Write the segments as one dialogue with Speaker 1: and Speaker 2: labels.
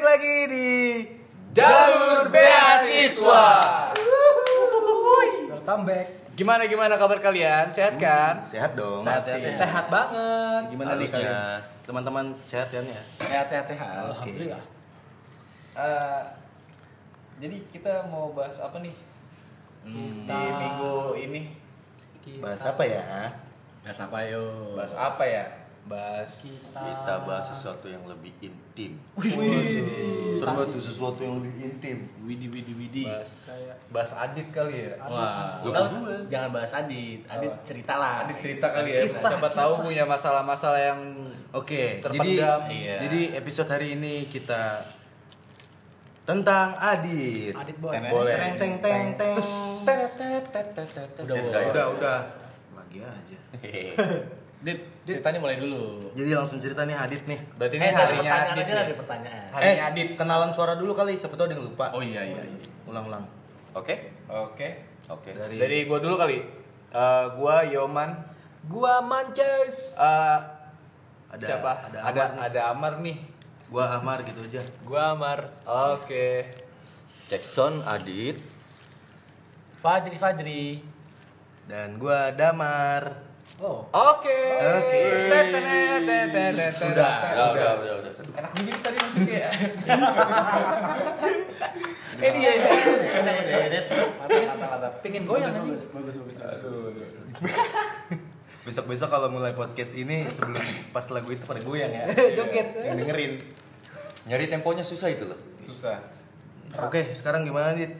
Speaker 1: lagi di Jalur Beasiswa.
Speaker 2: Welcome back.
Speaker 3: Gimana gimana kabar kalian? Sehat kan?
Speaker 1: Sehat dong.
Speaker 3: Sehat, sehat, sehat.
Speaker 2: Sehat banget.
Speaker 1: Gimana nih
Speaker 4: Harusnya.
Speaker 1: kalian? Teman-teman sehat kan ya?
Speaker 3: Sehat sehat sehat.
Speaker 2: Alhamdulillah.
Speaker 3: Eh, jadi kita mau bahas apa nih? Hmm, Di
Speaker 2: Kita-
Speaker 3: minggu ini
Speaker 1: Bahas apa ya?
Speaker 4: Bahas apa yo?
Speaker 3: bahas apa ya? Bahas
Speaker 4: Kita bahas sesuatu yang lebih intim.
Speaker 1: Terbuat sesuatu yang lebih intim.
Speaker 4: Widi widi widi.
Speaker 3: bahas bahas Adit kali ya.
Speaker 4: Wah,
Speaker 1: Lu
Speaker 4: nggak
Speaker 1: kan
Speaker 4: usah-
Speaker 1: gue.
Speaker 4: jangan bahas Adit. Adit
Speaker 3: Apa?
Speaker 4: ceritalah.
Speaker 3: Adit cerita kali ya. Siapa tahu punya masalah-masalah yang
Speaker 1: Oke, jadi
Speaker 3: Terpendam.
Speaker 4: Iya.
Speaker 1: jadi episode hari ini kita tentang Adit.
Speaker 2: Adit boy.
Speaker 1: Boleh. Teng teng teng teng.
Speaker 4: Udah,
Speaker 3: Udah,
Speaker 4: udah.
Speaker 1: Eh, Udah, udah. Lagi aja.
Speaker 3: Dit,
Speaker 4: Ceritanya mulai dulu.
Speaker 1: Jadi langsung cerita nih Adit nih.
Speaker 3: berarti ini
Speaker 4: Eh, ada
Speaker 3: harinya
Speaker 4: pertanyaan
Speaker 3: Adit.
Speaker 2: ya?
Speaker 4: aja lah,
Speaker 3: nih.
Speaker 4: ada pertanyaan.
Speaker 3: Harinya
Speaker 1: eh,
Speaker 3: Adit.
Speaker 1: kenalan suara dulu kali, siapa tahu ada yang lupa.
Speaker 4: Oh iya iya. iya.
Speaker 1: Ulang-ulang.
Speaker 4: Oke,
Speaker 3: Oke.
Speaker 4: oke.
Speaker 1: Dari,
Speaker 3: Dari gua dulu kali. Eh, gua Yoman
Speaker 2: Gua Manches.
Speaker 3: Eh,
Speaker 1: Ada-
Speaker 3: siapa?
Speaker 1: ada
Speaker 3: Ada
Speaker 1: Amar
Speaker 3: ada
Speaker 1: nih.
Speaker 3: ada Amar nih.
Speaker 1: gua Amar gitu aja.
Speaker 2: Gua Amar.
Speaker 3: Oke.
Speaker 4: Jackson Adit.
Speaker 2: Fajri Fajri.
Speaker 1: Dan gua Damar.
Speaker 2: Oh.
Speaker 3: Oke.
Speaker 1: Oke.
Speaker 3: Tetenet, tetenet,
Speaker 1: Sudah,
Speaker 3: tetenet.
Speaker 4: Udah, udah, udah, udah.
Speaker 3: Enak juga tadi musiknya. ya.
Speaker 2: Eh dia. dia. Pengen- Pengen goyang anjing.
Speaker 1: Besok-besok kalau mulai podcast ini sebelum pas lagu itu pada goyang ya.
Speaker 2: Joget.
Speaker 1: Yang dengerin.
Speaker 4: Nyari temponya susah itu loh.
Speaker 3: Susah.
Speaker 1: Oke, sekarang gimana Dit?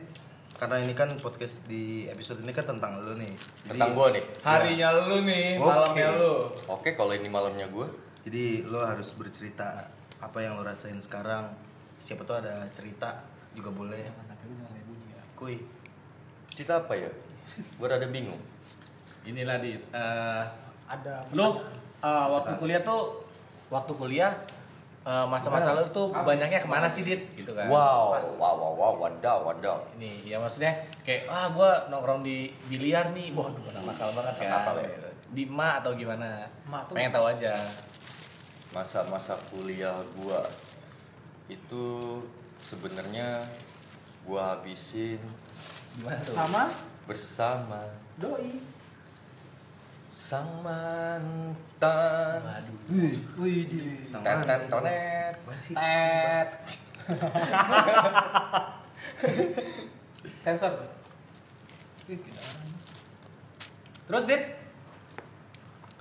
Speaker 1: Karena ini kan podcast di episode ini kan tentang lo
Speaker 3: Iya.
Speaker 1: nih. Jadi-
Speaker 4: Tentang gua nih.
Speaker 3: Harinya lu nih,
Speaker 1: Oke.
Speaker 3: malamnya lu.
Speaker 4: Oke, kalau ini malamnya gua
Speaker 1: Jadi lo harus bercerita apa yang lo rasain sekarang. Siapa tuh ada cerita juga boleh. Kuy.
Speaker 4: cerita apa ya? Gua rada bingung.
Speaker 5: Inilah di eh,
Speaker 2: Ada.
Speaker 5: lu eh, waktu kuliah tuh waktu kuliah eh, masa-masa lu tuh banyaknya kemana sih dit gitu kan?
Speaker 4: Wow, wow, wow, wow, wadaw, wadaw.
Speaker 5: Ini ya maksudnya kayak ah gua nongkrong di biliar nih. Waduh, anak nakal banget kan.
Speaker 4: Nakal ya.
Speaker 3: Iya.
Speaker 5: Di ma atau gimana?
Speaker 2: Ma tuh-
Speaker 5: Pengen tahu aja.
Speaker 4: masa-masa kuliah gua itu sebenarnya gua habisin
Speaker 5: Gimana tuh?
Speaker 2: Sama
Speaker 4: bersama
Speaker 2: doi.
Speaker 4: sang mantan
Speaker 3: Hmm.
Speaker 5: Waduh.
Speaker 2: Wih di.
Speaker 1: Sang
Speaker 4: tet tet
Speaker 1: mantan.
Speaker 4: tonet
Speaker 5: Tet.
Speaker 3: Sensor.
Speaker 5: Terus dit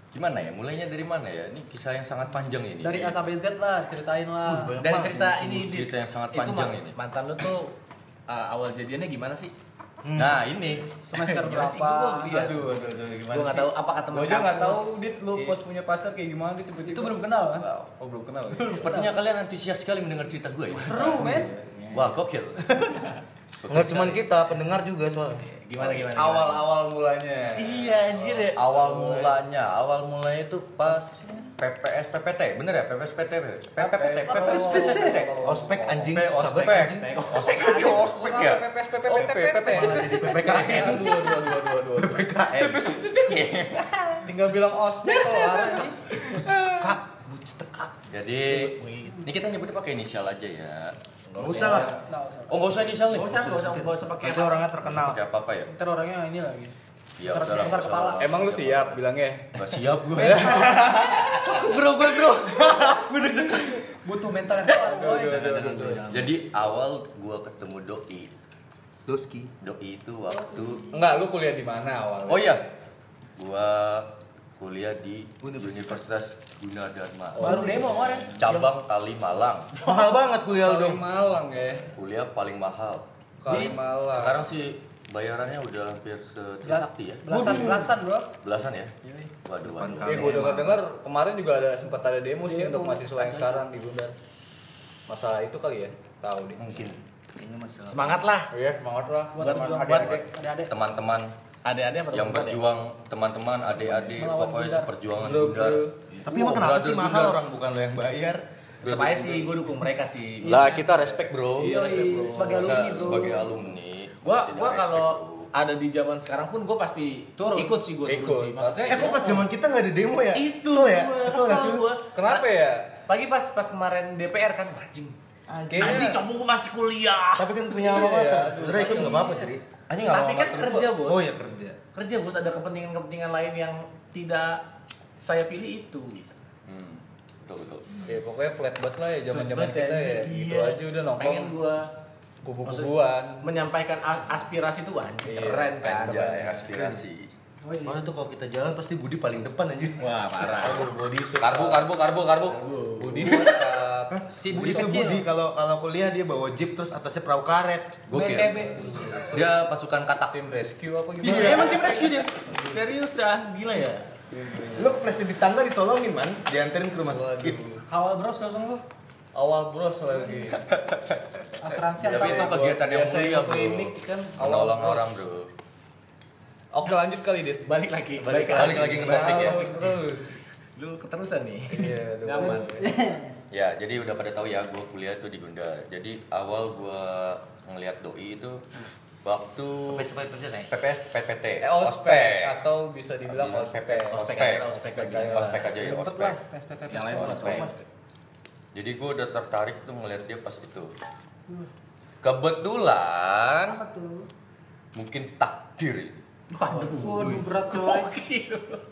Speaker 4: gimana ya mulainya dari mana ya ini kisah yang sangat panjang ini
Speaker 2: Dari A sampai Z lah ceritain lah.
Speaker 1: Banyak
Speaker 5: dari
Speaker 1: banget
Speaker 5: cerita
Speaker 1: yang
Speaker 5: ini
Speaker 4: sungguh
Speaker 5: Dit.
Speaker 4: cerita yang sangat
Speaker 5: Itu
Speaker 4: panjang
Speaker 5: man-
Speaker 4: ini.
Speaker 5: Mantan lu tuh eh, awal jadiannya gimana sih?
Speaker 4: nah ini
Speaker 2: Semester
Speaker 5: Gimana sih?
Speaker 2: berapa?
Speaker 5: Gua- iya.
Speaker 3: Aduh, aduh, aduh, gimana
Speaker 5: Gua nggak
Speaker 3: sih?
Speaker 5: tahu apakah teman
Speaker 3: Gua aja nggak tahu
Speaker 5: kampus.
Speaker 3: Dit lu
Speaker 5: Iya.
Speaker 3: pas punya pacar kayak gimana Dit tiba-tiba.
Speaker 2: Itu belum kenal kan?
Speaker 3: Wow. Oh, belum kenal. ya?
Speaker 4: sepertinya kalian antusias sekali mendengar cerita gua ya
Speaker 2: Seru men.
Speaker 4: wah gokil
Speaker 1: Nggak cuma kita, pendengar juga soalnya.
Speaker 5: Gimana gimana? gimana?
Speaker 3: Awal-awal mulanya.
Speaker 2: Iya anjir ya.
Speaker 4: awal mulanya awal mulanya itu pas PPS PPT bener ya PPS PPT PPT PPS PPT
Speaker 1: Oh, Ospek anjing,
Speaker 4: Pe-
Speaker 1: sahabat
Speaker 4: ospek
Speaker 1: anjing.
Speaker 4: ospek ospek ya
Speaker 3: PPS, PPS,
Speaker 4: Oh, PPS.
Speaker 1: Jadi PPKN.
Speaker 3: Aduh, aduh, aduh, aduh, aduh.
Speaker 1: PPKN.
Speaker 3: Tinggal bilang ospek kelar ini.
Speaker 1: Kak, bucet tekak.
Speaker 4: jadi ini kita nyebutnya pakai inisial aja ya
Speaker 1: Nggak usah lah.
Speaker 2: Nggak usah.
Speaker 4: oh nggak usah inisial nih
Speaker 5: Gak usah, gak usah, gak usah pakai
Speaker 1: Nanti orangnya terkenal.
Speaker 4: pakai apa apa ya
Speaker 2: Ntar orangnya ini lagi.
Speaker 4: ya
Speaker 2: Seret- seret
Speaker 4: udahlah, nggak usah
Speaker 2: kepala.
Speaker 4: lah.
Speaker 3: Emang lu siap ya? bilangnya?
Speaker 4: nggak siap gue aku bro gue bro gue deg-degan
Speaker 2: Butuh mental yang kuat. boy.
Speaker 4: jadi awal gue ketemu doi
Speaker 1: Doski.
Speaker 4: doi itu waktu
Speaker 3: Enggak, lu kuliah di mana awalnya?
Speaker 4: Oh iya, gua kuliah di
Speaker 1: Universitas.
Speaker 4: Universitas Gunadarma,
Speaker 2: Baru demo kemarin.
Speaker 4: cabang Kalimalang,
Speaker 1: Mahal banget kuliah lu
Speaker 3: Kali
Speaker 1: dong.
Speaker 3: Malang ya.
Speaker 4: kuliah paling mahal.
Speaker 3: Kali
Speaker 4: Ini
Speaker 3: Malang.
Speaker 4: Sekarang sih bayarannya udah hampir setrisakti ya,
Speaker 2: Belasan belasan bro.
Speaker 4: belasan ya. Waduh, waduh.
Speaker 3: Ya gue dengar dengar kemarin juga ada sempat ada demo sih untuk mahasiswa yang sekarang di Gundar. Masalah itu kali ya? Tahu deh.
Speaker 4: Mungkin
Speaker 1: Kayaknya masalah.
Speaker 5: Semangat lah.
Speaker 3: Iya, semangat lah.
Speaker 2: Buat
Speaker 3: Semangat
Speaker 2: buat
Speaker 3: adik-adik.
Speaker 2: ada
Speaker 4: teman-teman
Speaker 5: Adik-adik apa
Speaker 4: yang
Speaker 5: teman-teman ya?
Speaker 4: berjuang, teman-teman, adik-adik,
Speaker 2: Melawan
Speaker 4: pokoknya
Speaker 2: Gundar.
Speaker 4: seperjuangan
Speaker 3: Bro,
Speaker 4: Gundar.
Speaker 3: bro.
Speaker 1: Tapi emang kenapa
Speaker 4: Brother
Speaker 1: sih mahal
Speaker 4: Gundar.
Speaker 1: orang bukan lo yang bayar?
Speaker 5: Tetep aja sih, gue dukung mereka sih.
Speaker 4: Lah kita respect bro.
Speaker 2: Iya, iya. Sebagai
Speaker 4: Masa
Speaker 2: alumni, bro.
Speaker 4: Sebagai alumni.
Speaker 5: Gua
Speaker 4: masa tidak
Speaker 5: gua
Speaker 4: respect,
Speaker 5: kalau
Speaker 4: bro.
Speaker 5: ada di zaman sekarang pun gue pasti turun. Ikut sih gue
Speaker 3: Ikut.
Speaker 5: turun sih. Maksudnya
Speaker 1: Eh kok pas zaman kita nggak ada demo ya?
Speaker 5: itu
Speaker 1: Kesel
Speaker 5: gue
Speaker 1: ya? Kesel nggak
Speaker 5: kesel
Speaker 1: sih lu?
Speaker 5: gue.
Speaker 3: Kenapa ya?
Speaker 5: Pagi pas pas kemarin DPR kan anjing. Kayaknya-
Speaker 2: Anjing, cowok gue masih kuliah.
Speaker 1: Tapi kan punya apa
Speaker 5: Iya,
Speaker 1: apa?
Speaker 5: iya.
Speaker 1: Sebenarnya ikut nggak apa-apa ceri.
Speaker 2: Tapi
Speaker 4: Anjing nggak mau
Speaker 2: kan
Speaker 4: ngatur
Speaker 2: kerja,
Speaker 4: gua.
Speaker 2: Bos.
Speaker 1: Oh ya kerja.
Speaker 2: Kerja, Bos, ada kepentingan-kepentingan lain yang tidak saya pilih itu gitu.
Speaker 4: Hmm, betul betul.
Speaker 5: Ya pokoknya flat banget lah ya zaman-zaman
Speaker 2: Flat banget
Speaker 5: kita
Speaker 2: aja,
Speaker 5: ya.
Speaker 2: iya.
Speaker 5: Gitu aja udah nongkrong
Speaker 2: Pengen gua
Speaker 5: kubu-kubuan.
Speaker 2: menyampaikan a- aspirasi tuh anjing
Speaker 5: Iya,
Speaker 2: keren kan.
Speaker 4: Anjay, aspirasi.
Speaker 1: Mana tuh kalau kita jalan pasti Budi paling depan anjir.
Speaker 2: Wah, parah.
Speaker 5: Body suit.
Speaker 4: Karbu, karbu, karbu, karbu.
Speaker 5: Body suit.
Speaker 2: Si
Speaker 1: Budi tuh Budi kalau kalau kuliah dia bawa jeep terus atasnya perahu karet.
Speaker 4: Gokil. Dia pasukan katak.
Speaker 5: Tim rescue apa gimana?
Speaker 1: Iya.
Speaker 2: Emang tim rescue dia. Seriusan, gila ya.
Speaker 1: Lu kepleset di tangga ditolongin man, dianterin ke rumah sakit.
Speaker 5: Waduh.
Speaker 6: Awal bros langsung lu
Speaker 5: Awal bros lagi.
Speaker 6: asuransi
Speaker 4: Tapi
Speaker 6: apa?
Speaker 4: itu kegiatan yang
Speaker 5: Biasa
Speaker 4: mulia,
Speaker 5: ikut
Speaker 4: Bro.
Speaker 5: klinik kan, awal
Speaker 4: Menolong
Speaker 5: bros.
Speaker 4: orang, Bro.
Speaker 5: Oke lanjut kali dit.
Speaker 2: Balik lagi,
Speaker 5: Balik
Speaker 4: Balik lagi ke topik ya.
Speaker 5: Balik terus.
Speaker 2: Lu keterusan nih.
Speaker 5: Iya, aduh.
Speaker 2: Nyaman.
Speaker 4: Ya, jadi udah pada tahu ya gue kuliah tuh di Gundar. Jadi awal gue ngelihat doi itu waktu
Speaker 1: sebaik kerja nih.
Speaker 4: PPS PPT,
Speaker 5: Eh, ospek atau bisa dibilang
Speaker 4: Dibilang
Speaker 5: ospek.
Speaker 4: Iya,
Speaker 5: Iya.
Speaker 4: ospek.
Speaker 2: ospek
Speaker 4: ospek aja ya,
Speaker 6: Ribet
Speaker 4: ospek.
Speaker 6: lah, PSPP.
Speaker 2: Yang lain tuh nggak
Speaker 4: Ospek.
Speaker 2: sama.
Speaker 4: Jadi gue udah tertarik tuh ngeliat dia pas itu. Kebetulan
Speaker 6: Apa tuh?
Speaker 4: mungkin takdir ya, ini.
Speaker 6: Waduh berat coy.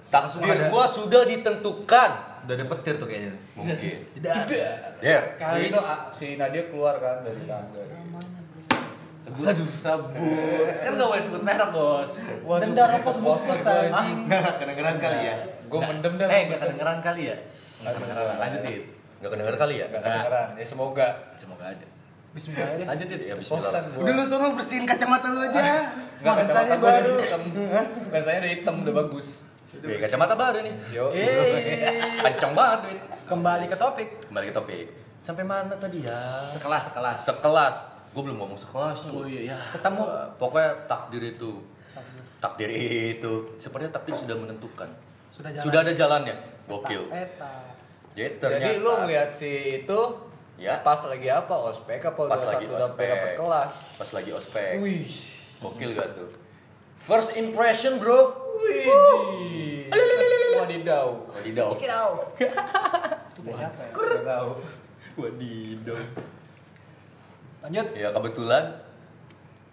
Speaker 4: Takdir gue sudah ditentukan. Ya.
Speaker 1: Udah ada petir tuh kayaknya.
Speaker 4: Mungkin.
Speaker 1: Tidak. ada.
Speaker 4: Der.
Speaker 5: Jadi itu ah, si Nadia keluar kan dari tangga.
Speaker 2: Sebut sebut. Kan enggak boleh sebut merek, Bos.
Speaker 6: Denda rokok
Speaker 2: gitu,
Speaker 6: bungkus
Speaker 5: gue.
Speaker 6: anjing.
Speaker 1: Nggak kedengeran kali ya.
Speaker 5: Gue mendem dah.
Speaker 2: Eh, enggak kedengeran kali ya? Nggak kedengeran. Lanjut, Dit.
Speaker 4: Gak kedenger kali ya?
Speaker 5: Gak kedengeran. Ya semoga.
Speaker 2: Semoga aja.
Speaker 6: Bismillah deh.
Speaker 2: Lanjut, Dit.
Speaker 4: Ya
Speaker 5: Bosan
Speaker 4: bismillah.
Speaker 5: gue.
Speaker 1: Udah lu suruh bersihin kacamata lu aja.
Speaker 5: Enggak kacamata
Speaker 1: Makanya
Speaker 5: gue
Speaker 1: baru.
Speaker 5: udah hitam. Biasanya udah hitam udah bagus.
Speaker 4: Wih, kacamata baru nih.
Speaker 5: Yo.
Speaker 2: Eh,
Speaker 4: Kenceng banget duit.
Speaker 6: Eh, Kembali ke topik.
Speaker 4: Kembali ke topik. Sampai mana tadi ya?
Speaker 2: Sekelas, sekelas.
Speaker 4: Sekelas. Gue belum ngomong sekelas.
Speaker 2: Oh iya, ya.
Speaker 4: Ketemu. Pokoknya takdir itu. Takdir itu. Sepertinya takdir sudah menentukan.
Speaker 6: Sudah jalan.
Speaker 4: Sudah ada jalannya. Gokil.
Speaker 6: Eta.
Speaker 4: Jadi ternyata.
Speaker 5: Jadi lu ngeliat si itu
Speaker 4: Ya.
Speaker 5: pas lagi apa ospek apa udah
Speaker 4: pas lagi
Speaker 5: satu udah
Speaker 4: ospek.
Speaker 5: dapat kelas.
Speaker 4: Pas lagi ospek.
Speaker 5: Wih.
Speaker 4: Gokil gak tuh? First impression bro.
Speaker 5: Wih. Wadidau.
Speaker 4: Wadidaw.
Speaker 6: Itu kayak apa ya?
Speaker 5: Wadidau.
Speaker 4: Wadidaw.
Speaker 6: Lanjut.
Speaker 4: Ya kebetulan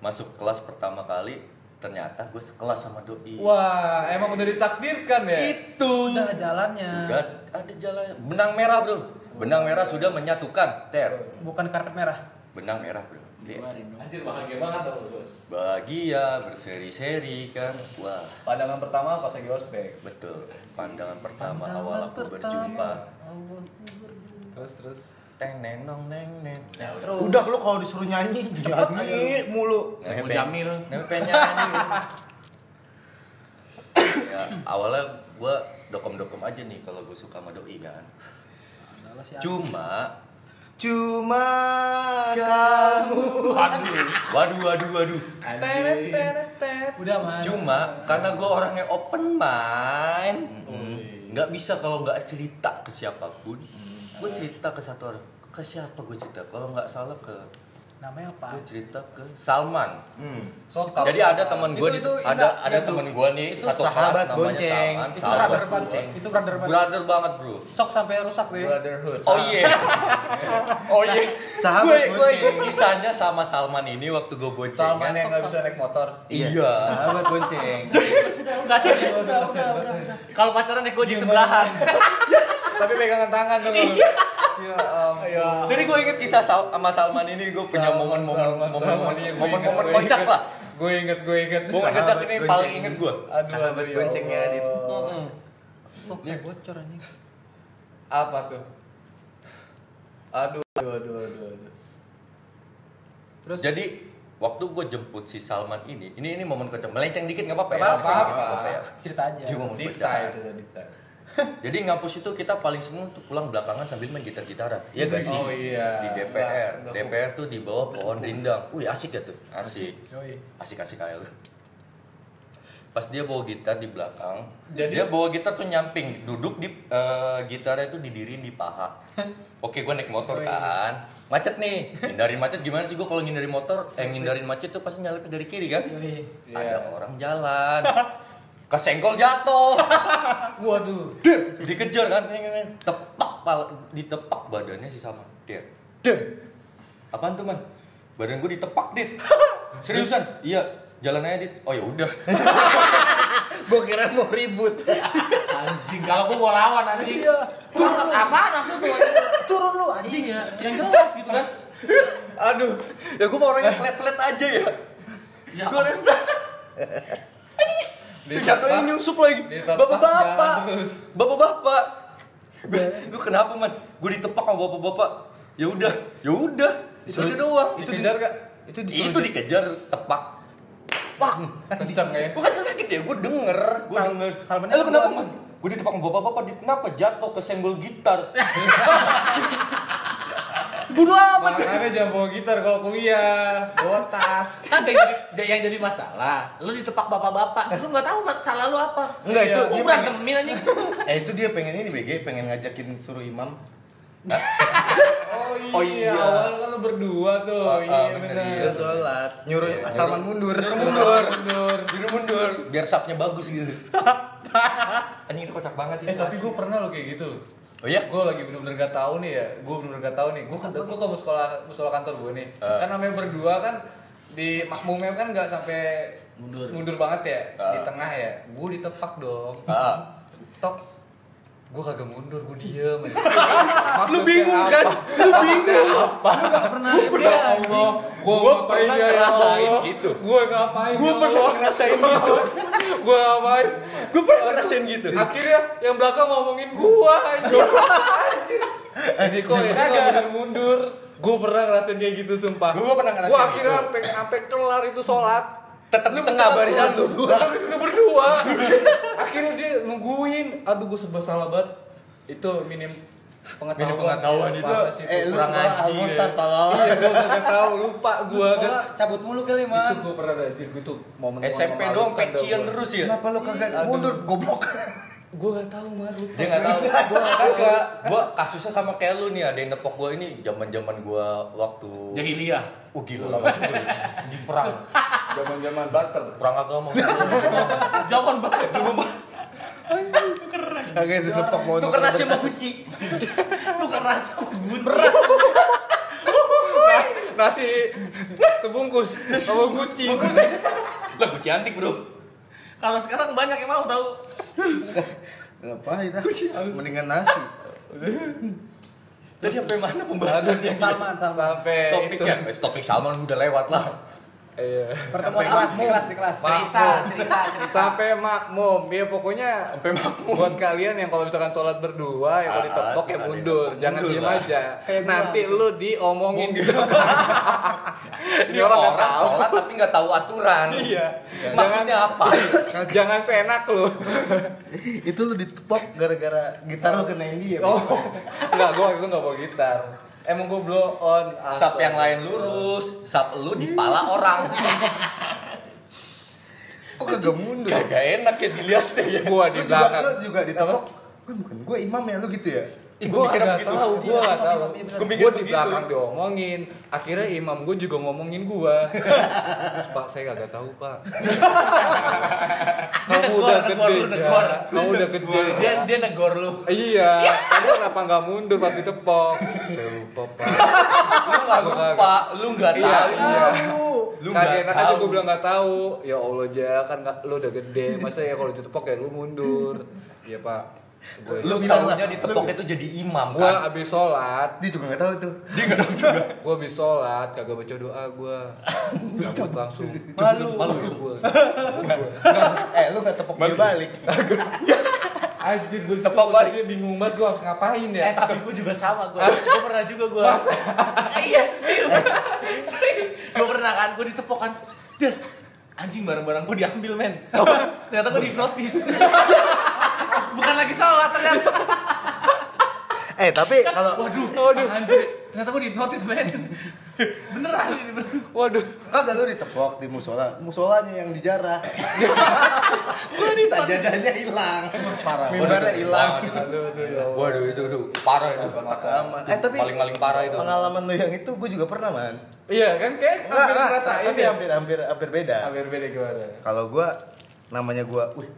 Speaker 4: masuk kelas pertama kali ternyata gue sekelas sama doi.
Speaker 5: Wah, emang udah ditakdirkan ya?
Speaker 4: Itu.
Speaker 6: Udah jalannya.
Speaker 4: Sudah ada jalan benang merah, Bro. Benang merah sudah menyatukan, Ter.
Speaker 6: Bukan karpet merah.
Speaker 4: Benang merah, Bro. Ter.
Speaker 2: Anjir, bahagia banget dong, Bos.
Speaker 4: Bahagia berseri-seri kan. Wah,
Speaker 5: Pandangan pertama pas lagi ospek.
Speaker 4: betul. Pandangan pertama
Speaker 6: Pandangan
Speaker 4: awal aku
Speaker 6: pertama.
Speaker 4: berjumpa.
Speaker 6: Awal ku berjumpa.
Speaker 5: Terus terus.
Speaker 4: Teng nenong neng neng.
Speaker 2: Ya, udah.
Speaker 6: Terus.
Speaker 1: Udah lu kalau disuruh nyanyi nyanyi mulu.
Speaker 2: Saiful
Speaker 4: Ngepe-
Speaker 2: Jamil.
Speaker 4: ngepe nyanyi. ya, awalnya gue dokem-dokem aja nih kalau gue suka sama doi kan.
Speaker 6: Adalah si
Speaker 4: Cuma
Speaker 1: Cuma
Speaker 4: waduh waduh waduh.
Speaker 6: Udah mah.
Speaker 4: Cuma karena gue orangnya open mind, nggak bisa kalau nggak cerita ke siapapun. Gue cerita ke satu orang. Ke siapa gue cerita? Kalau nggak salah ke
Speaker 6: Namanya apa?
Speaker 4: gue cerita ke Salman.
Speaker 1: Hmm.
Speaker 5: So,
Speaker 4: Jadi ada teman gue di
Speaker 6: Itu- itu-
Speaker 4: ada
Speaker 6: itu-
Speaker 4: ada teman gue nih
Speaker 1: itu
Speaker 4: satu
Speaker 1: sahabat
Speaker 4: kelas namanya
Speaker 1: bonceng.
Speaker 4: Salman.
Speaker 1: Itu
Speaker 6: Itu
Speaker 4: Sahabat
Speaker 6: brother
Speaker 4: gua.
Speaker 6: banget. Itu brother banget.
Speaker 4: Brother banget bro.
Speaker 6: Sok sampai rusak tuh ya.
Speaker 5: brotherhood.
Speaker 4: Oh iya. Oh iya.
Speaker 1: Sahabat
Speaker 4: Gue gue
Speaker 1: bonceng.
Speaker 4: ingat kisahnya sama Salman ini waktu gue bonceng. kan?
Speaker 5: Salman yang nggak bisa naik motor.
Speaker 4: Iya.
Speaker 1: Sahabat bonceng.
Speaker 2: Udah, sih.
Speaker 6: Udah, udah, udah, udah.
Speaker 2: Kalau pacaran naik
Speaker 6: Iya,
Speaker 2: gojek sebelahan.
Speaker 5: Tapi pegangan tangan tuh. lu. Ya ampun.
Speaker 4: Jadi gue inget kisah Sal- sama Salman ini gue punya
Speaker 5: Salman,
Speaker 4: momen-momen
Speaker 5: Salman,
Speaker 4: momen-momen
Speaker 5: Salman. Iya,
Speaker 4: ini,
Speaker 5: Gua
Speaker 4: momen-momen
Speaker 5: inget, gua
Speaker 4: kocak
Speaker 5: inget.
Speaker 4: lah.
Speaker 5: Gue inget, gue inget.
Speaker 4: Momen
Speaker 1: Sahabat
Speaker 4: kocak ini
Speaker 1: bonceng.
Speaker 4: paling inget gue.
Speaker 5: Aduh,
Speaker 1: Sahabat
Speaker 5: aduh,
Speaker 1: boncengnya,
Speaker 5: ya
Speaker 1: Dit.
Speaker 5: Allah.
Speaker 6: Sok kayak bocor anjing.
Speaker 5: Apa tuh? Aduh, aduh, aduh, aduh, aduh.
Speaker 6: Terus
Speaker 4: Jadi waktu gue jemput si Salman ini, ini ini momen kocak. Melenceng dikit nggak apa-apa ya.
Speaker 5: Nggak
Speaker 4: melenceng dikit,
Speaker 5: apa-apa. Iya,
Speaker 4: nggak ya.
Speaker 6: cerita aja.
Speaker 4: Dia ngomong
Speaker 5: Dita
Speaker 4: kocak.
Speaker 5: itu tuh, Dita.
Speaker 4: Jadi ngampus itu kita paling seneng tuh pulang belakangan sambil main gitar-gitaran. Iya gak sih?
Speaker 5: Oh, iya.
Speaker 4: Di DPR.
Speaker 5: Nggak- nggak-
Speaker 4: DPR tuh di
Speaker 5: nah,
Speaker 4: bawah pohon rindang. Wih asik gak tuh? Asik.
Speaker 5: Yoi.
Speaker 4: Asik-asik kayak lu. Pas dia bawa gitar di belakang,
Speaker 5: Jadi-
Speaker 4: dia bawa gitar tuh nyamping, duduk di eh, gitarnya tuh didiriin di paha. Oke, gue naik
Speaker 5: Oh,
Speaker 4: motor
Speaker 5: iya.
Speaker 4: kan, macet nih. Hindarin macet gimana sih gue kalau ngindarin motor? Eh, ngindarin macet tuh pasti nyalip dari kiri kan?
Speaker 6: Yoi.
Speaker 5: Iya.
Speaker 4: Ada orang jalan, kesenggol jatuh.
Speaker 6: Waduh.
Speaker 4: Der, dikejar kan, tepak pala, ditepak badannya si sama. Der, der, apaan tuh man badan gue ditepak dit seriusan iya jalan aja dit oh ya udah
Speaker 1: Gue kira mau ribut.
Speaker 5: anjing kalau gua mau lawan anjing turun apa langsung tuh turun lu anjing ya yang jelas gitu kan
Speaker 4: aduh ya gue mau orangnya flat flat aja ya
Speaker 5: ya
Speaker 4: gue lempar jatuhnya nyusup lagi
Speaker 5: Ditepak,
Speaker 4: bapak bapak
Speaker 5: jalan terus.
Speaker 4: bapak bapak lu kenapa man gue ditepak sama bapak bapak ya udah ya udah itu aja doang
Speaker 1: Itu
Speaker 5: dikejar gak?
Speaker 1: Itu disuruh
Speaker 4: itu dikejar tepak Wah,
Speaker 5: kenceng ya
Speaker 4: Bukan sakit ya, gue denger, gue
Speaker 5: Sal-
Speaker 4: denger.
Speaker 5: Salman
Speaker 4: eh, lu kenapa,
Speaker 5: keluar.
Speaker 4: Man? Gue ditepak sama bapak-bapak, di kenapa jatuh ke senggol gitar? Bodoh amat.
Speaker 5: Makanya jangan bawa gitar kalau kuliah, bawa tas. Kan yang jadi, yang jadi masalah, lu ditepak bapak-bapak, lu nggak tahu masalah lu apa.
Speaker 1: Enggak, itu
Speaker 5: Lu
Speaker 1: dia
Speaker 5: berantemin anjing.
Speaker 1: Eh itu dia pengen ini BG, pengen ngajakin suruh imam.
Speaker 4: Oh iya.
Speaker 5: awal kan lu berdua tuh.
Speaker 4: Ah, ah,
Speaker 5: iya
Speaker 4: bener,
Speaker 5: benar.
Speaker 1: Dia Nah, sholat, Iya, nyuruh Salman mundur. Nyuruh
Speaker 5: Mundur.
Speaker 4: Diri mundur, biar sapnya bagus gitu. Anjing itu kocak banget
Speaker 5: Eh
Speaker 4: itu.
Speaker 5: tapi gue pernah lo kayak gitu loh.
Speaker 4: Oh iya?
Speaker 5: Gue lagi bener-bener gak tahu nih ya. Gue bener-bener gak tahu nih. Gue ke gue ke sekolah sekolah kantor gue nih.
Speaker 4: Eh.
Speaker 5: Kan namanya berdua kan di makmumnya kan nggak sampai mundur. banget ya di
Speaker 4: Eh.
Speaker 5: tengah ya. Gue ditepak dong.
Speaker 4: Ah.
Speaker 5: Tok. Gue kagak mundur, gue diem. aja. Maksudnya
Speaker 4: Lu bingung kan?
Speaker 5: apa?
Speaker 4: Lu bingung.
Speaker 5: Apa? Gak pernah ya Allah. Gue
Speaker 4: Gua
Speaker 5: ya,
Speaker 4: pernah ngerasain gitu.
Speaker 5: Gue ngapain?
Speaker 4: Gue
Speaker 5: ya
Speaker 4: pernah
Speaker 5: Allah?
Speaker 4: ngerasain gitu.
Speaker 5: Gue ngapain?
Speaker 4: Gue pernah ngerasain gitu.
Speaker 5: Akhirnya yang belakang ngomongin gua anjir. Anjir. Ini kok ini kok mundur-mundur. Gua pernah ngerasain kayak gitu sumpah.
Speaker 4: Gua pernah ngerasain
Speaker 5: Gua akhirnya
Speaker 4: gitu.
Speaker 5: sampai sampai kelar itu sholat.
Speaker 4: Tetap di tengah barisan lu.
Speaker 5: Tapi udah berdua. Akhirnya dia nungguin. Aduh gua sebel salah banget. Itu minim pengetahuan.
Speaker 4: Minim pengetahuan
Speaker 5: sih,
Speaker 4: itu.
Speaker 5: parah sih
Speaker 1: Eh lu
Speaker 4: Kurang
Speaker 1: sekolah
Speaker 4: ngaji,
Speaker 1: Al-Muhtar
Speaker 4: ya.
Speaker 1: tolol.
Speaker 5: Iya, gua gak tahu, lupa gua kan.
Speaker 2: cabut mulu kali
Speaker 5: Itu
Speaker 2: man
Speaker 5: gua pernah gitu, ada anjir, gua itu momen
Speaker 4: SMP doang
Speaker 5: kan,
Speaker 4: pecian terus ya.
Speaker 1: Kenapa lu kagak
Speaker 5: Iya, aduh.
Speaker 1: mundur goblok?
Speaker 5: Gua gak tahu mah lupa.
Speaker 4: dia nggak tahu gua kagak gua kasusnya sama kayak lu nih ada yang nepok gua ini zaman zaman gua waktu
Speaker 5: Ya, Jahiliyah.
Speaker 4: oh gila lama juga ya. di perang
Speaker 5: Zaman-zaman barter.
Speaker 4: perang agama
Speaker 5: Zaman banget.
Speaker 1: Kagak itu tepak mundur.
Speaker 4: tukar nasi sama guci tukar nasi sama guci Nah,
Speaker 5: Nasi sebungkus sama guci.
Speaker 4: lah guci antik bro
Speaker 2: kalau sekarang banyak yang mau tahu
Speaker 1: Ngapain ah? Mendingan nasi.
Speaker 4: tadi sampai mana pembahasannya
Speaker 5: Salman, sampai
Speaker 4: topiknya Wes, topik ya. Salman udah lewat lah
Speaker 5: Iya.
Speaker 2: pertemuan kelas di kelas di kelas cerita
Speaker 5: Makmum.
Speaker 2: cerita cerita
Speaker 5: Sampai makmum. Ya pokoknya
Speaker 4: sampai makmum
Speaker 5: buat kalian yang kalau misalkan sholat berdua ya kalau
Speaker 4: Ah,
Speaker 5: ditepok ya
Speaker 4: terus ada
Speaker 5: mundur
Speaker 4: ditepok,
Speaker 5: jangan
Speaker 4: mundur
Speaker 5: diem
Speaker 4: lah.
Speaker 5: aja nanti lu diomongin
Speaker 4: ini orang, sholat tapi nggak tahu aturan
Speaker 5: iya
Speaker 4: maksudnya apa
Speaker 5: jangan seenak lu
Speaker 1: Itu lu ditepok gara-gara gitar lu ya? kenain dia.
Speaker 5: oh nggak gua itu nggak bawa gitar emang gua blow on
Speaker 4: sap yang lain lurus sap lu di pala orang
Speaker 1: Kok kagak mundur?
Speaker 4: kagak enak ya dilihat deh ya
Speaker 5: gua
Speaker 1: Lu juga
Speaker 5: di belakang
Speaker 1: lu juga ditepok. Kan bukan gua imam ya lu gitu ya.
Speaker 4: Ih,
Speaker 5: gue
Speaker 4: gua mikirnya
Speaker 5: gak
Speaker 4: begitu.
Speaker 5: tahu, gue gak tahu.
Speaker 4: Gua mikir
Speaker 5: Gue di
Speaker 4: begitu.
Speaker 5: belakang diomongin. Akhirnya imam gue juga ngomongin gue. pak, saya gak tahu pak. kamu
Speaker 2: Negor,
Speaker 5: udah
Speaker 2: negor,
Speaker 5: gede, Ja.
Speaker 2: lu negor.
Speaker 5: kamu udah gede.
Speaker 2: dia dia negor lu
Speaker 5: Iya, kamu kenapa gak mundur pas ditepok? Saya lupa pak.
Speaker 4: lu nggak lupa, lu nggak
Speaker 5: Iya,
Speaker 4: tahu,
Speaker 5: iya.
Speaker 4: lu
Speaker 5: Kagak
Speaker 4: nggak
Speaker 5: enak aja
Speaker 4: tahu.
Speaker 5: gue bilang gak tahu. Ya Allah ja, kan nggak- lu udah gede. Masa ya kalau ditepok ya lu mundur. Iya pak. ya. Gue
Speaker 4: Lu tahunya ditepok itu jadi imam
Speaker 5: gue
Speaker 4: kan?
Speaker 5: abis sholat
Speaker 1: Dia juga enggak tahu itu.
Speaker 4: Dia nggak tahu juga.
Speaker 5: gue habis sholat kagak baca doa gue cabut langsung
Speaker 4: Malu.
Speaker 5: malu gue
Speaker 1: Eh lu enggak tepok dia balik.
Speaker 5: anjir gue
Speaker 4: Tepok balik.
Speaker 5: bingung banget gue harus ngapain
Speaker 2: eh
Speaker 5: ya
Speaker 2: tapi gue juga sama gue gue pernah juga gue iya serius serius gue pernah kan gue ditepok kan des anjing barang-barang gue diambil men ternyata gue dihipnotis bukan lagi salah ternyata
Speaker 1: Eh tapi kalau
Speaker 2: waduh
Speaker 5: Waduh.
Speaker 2: anjir ternyata gue dihipnotis men beneran ini beneran
Speaker 5: waduh
Speaker 1: kagak lu ditepok di musola, musolanya yang dijarah.
Speaker 2: gue dihipnotis
Speaker 1: Sajadahnya hilang.
Speaker 2: parah
Speaker 1: Mimbarnya hilang.
Speaker 5: aduh aduh
Speaker 4: Waduh itu tuh parah itu.
Speaker 1: Kotak aman. Eh tapi
Speaker 4: Paling-paling parah itu.
Speaker 1: Pengalaman lu yang itu gue juga pernah, Man.
Speaker 5: iya kan kayak
Speaker 1: Enggak,
Speaker 5: hampir
Speaker 1: enggak,
Speaker 5: ngerasain
Speaker 1: tapi
Speaker 5: ya
Speaker 1: hampir hampir hampir beda.
Speaker 5: hampir beda gimana
Speaker 1: Kalau gua namanya gua, wih,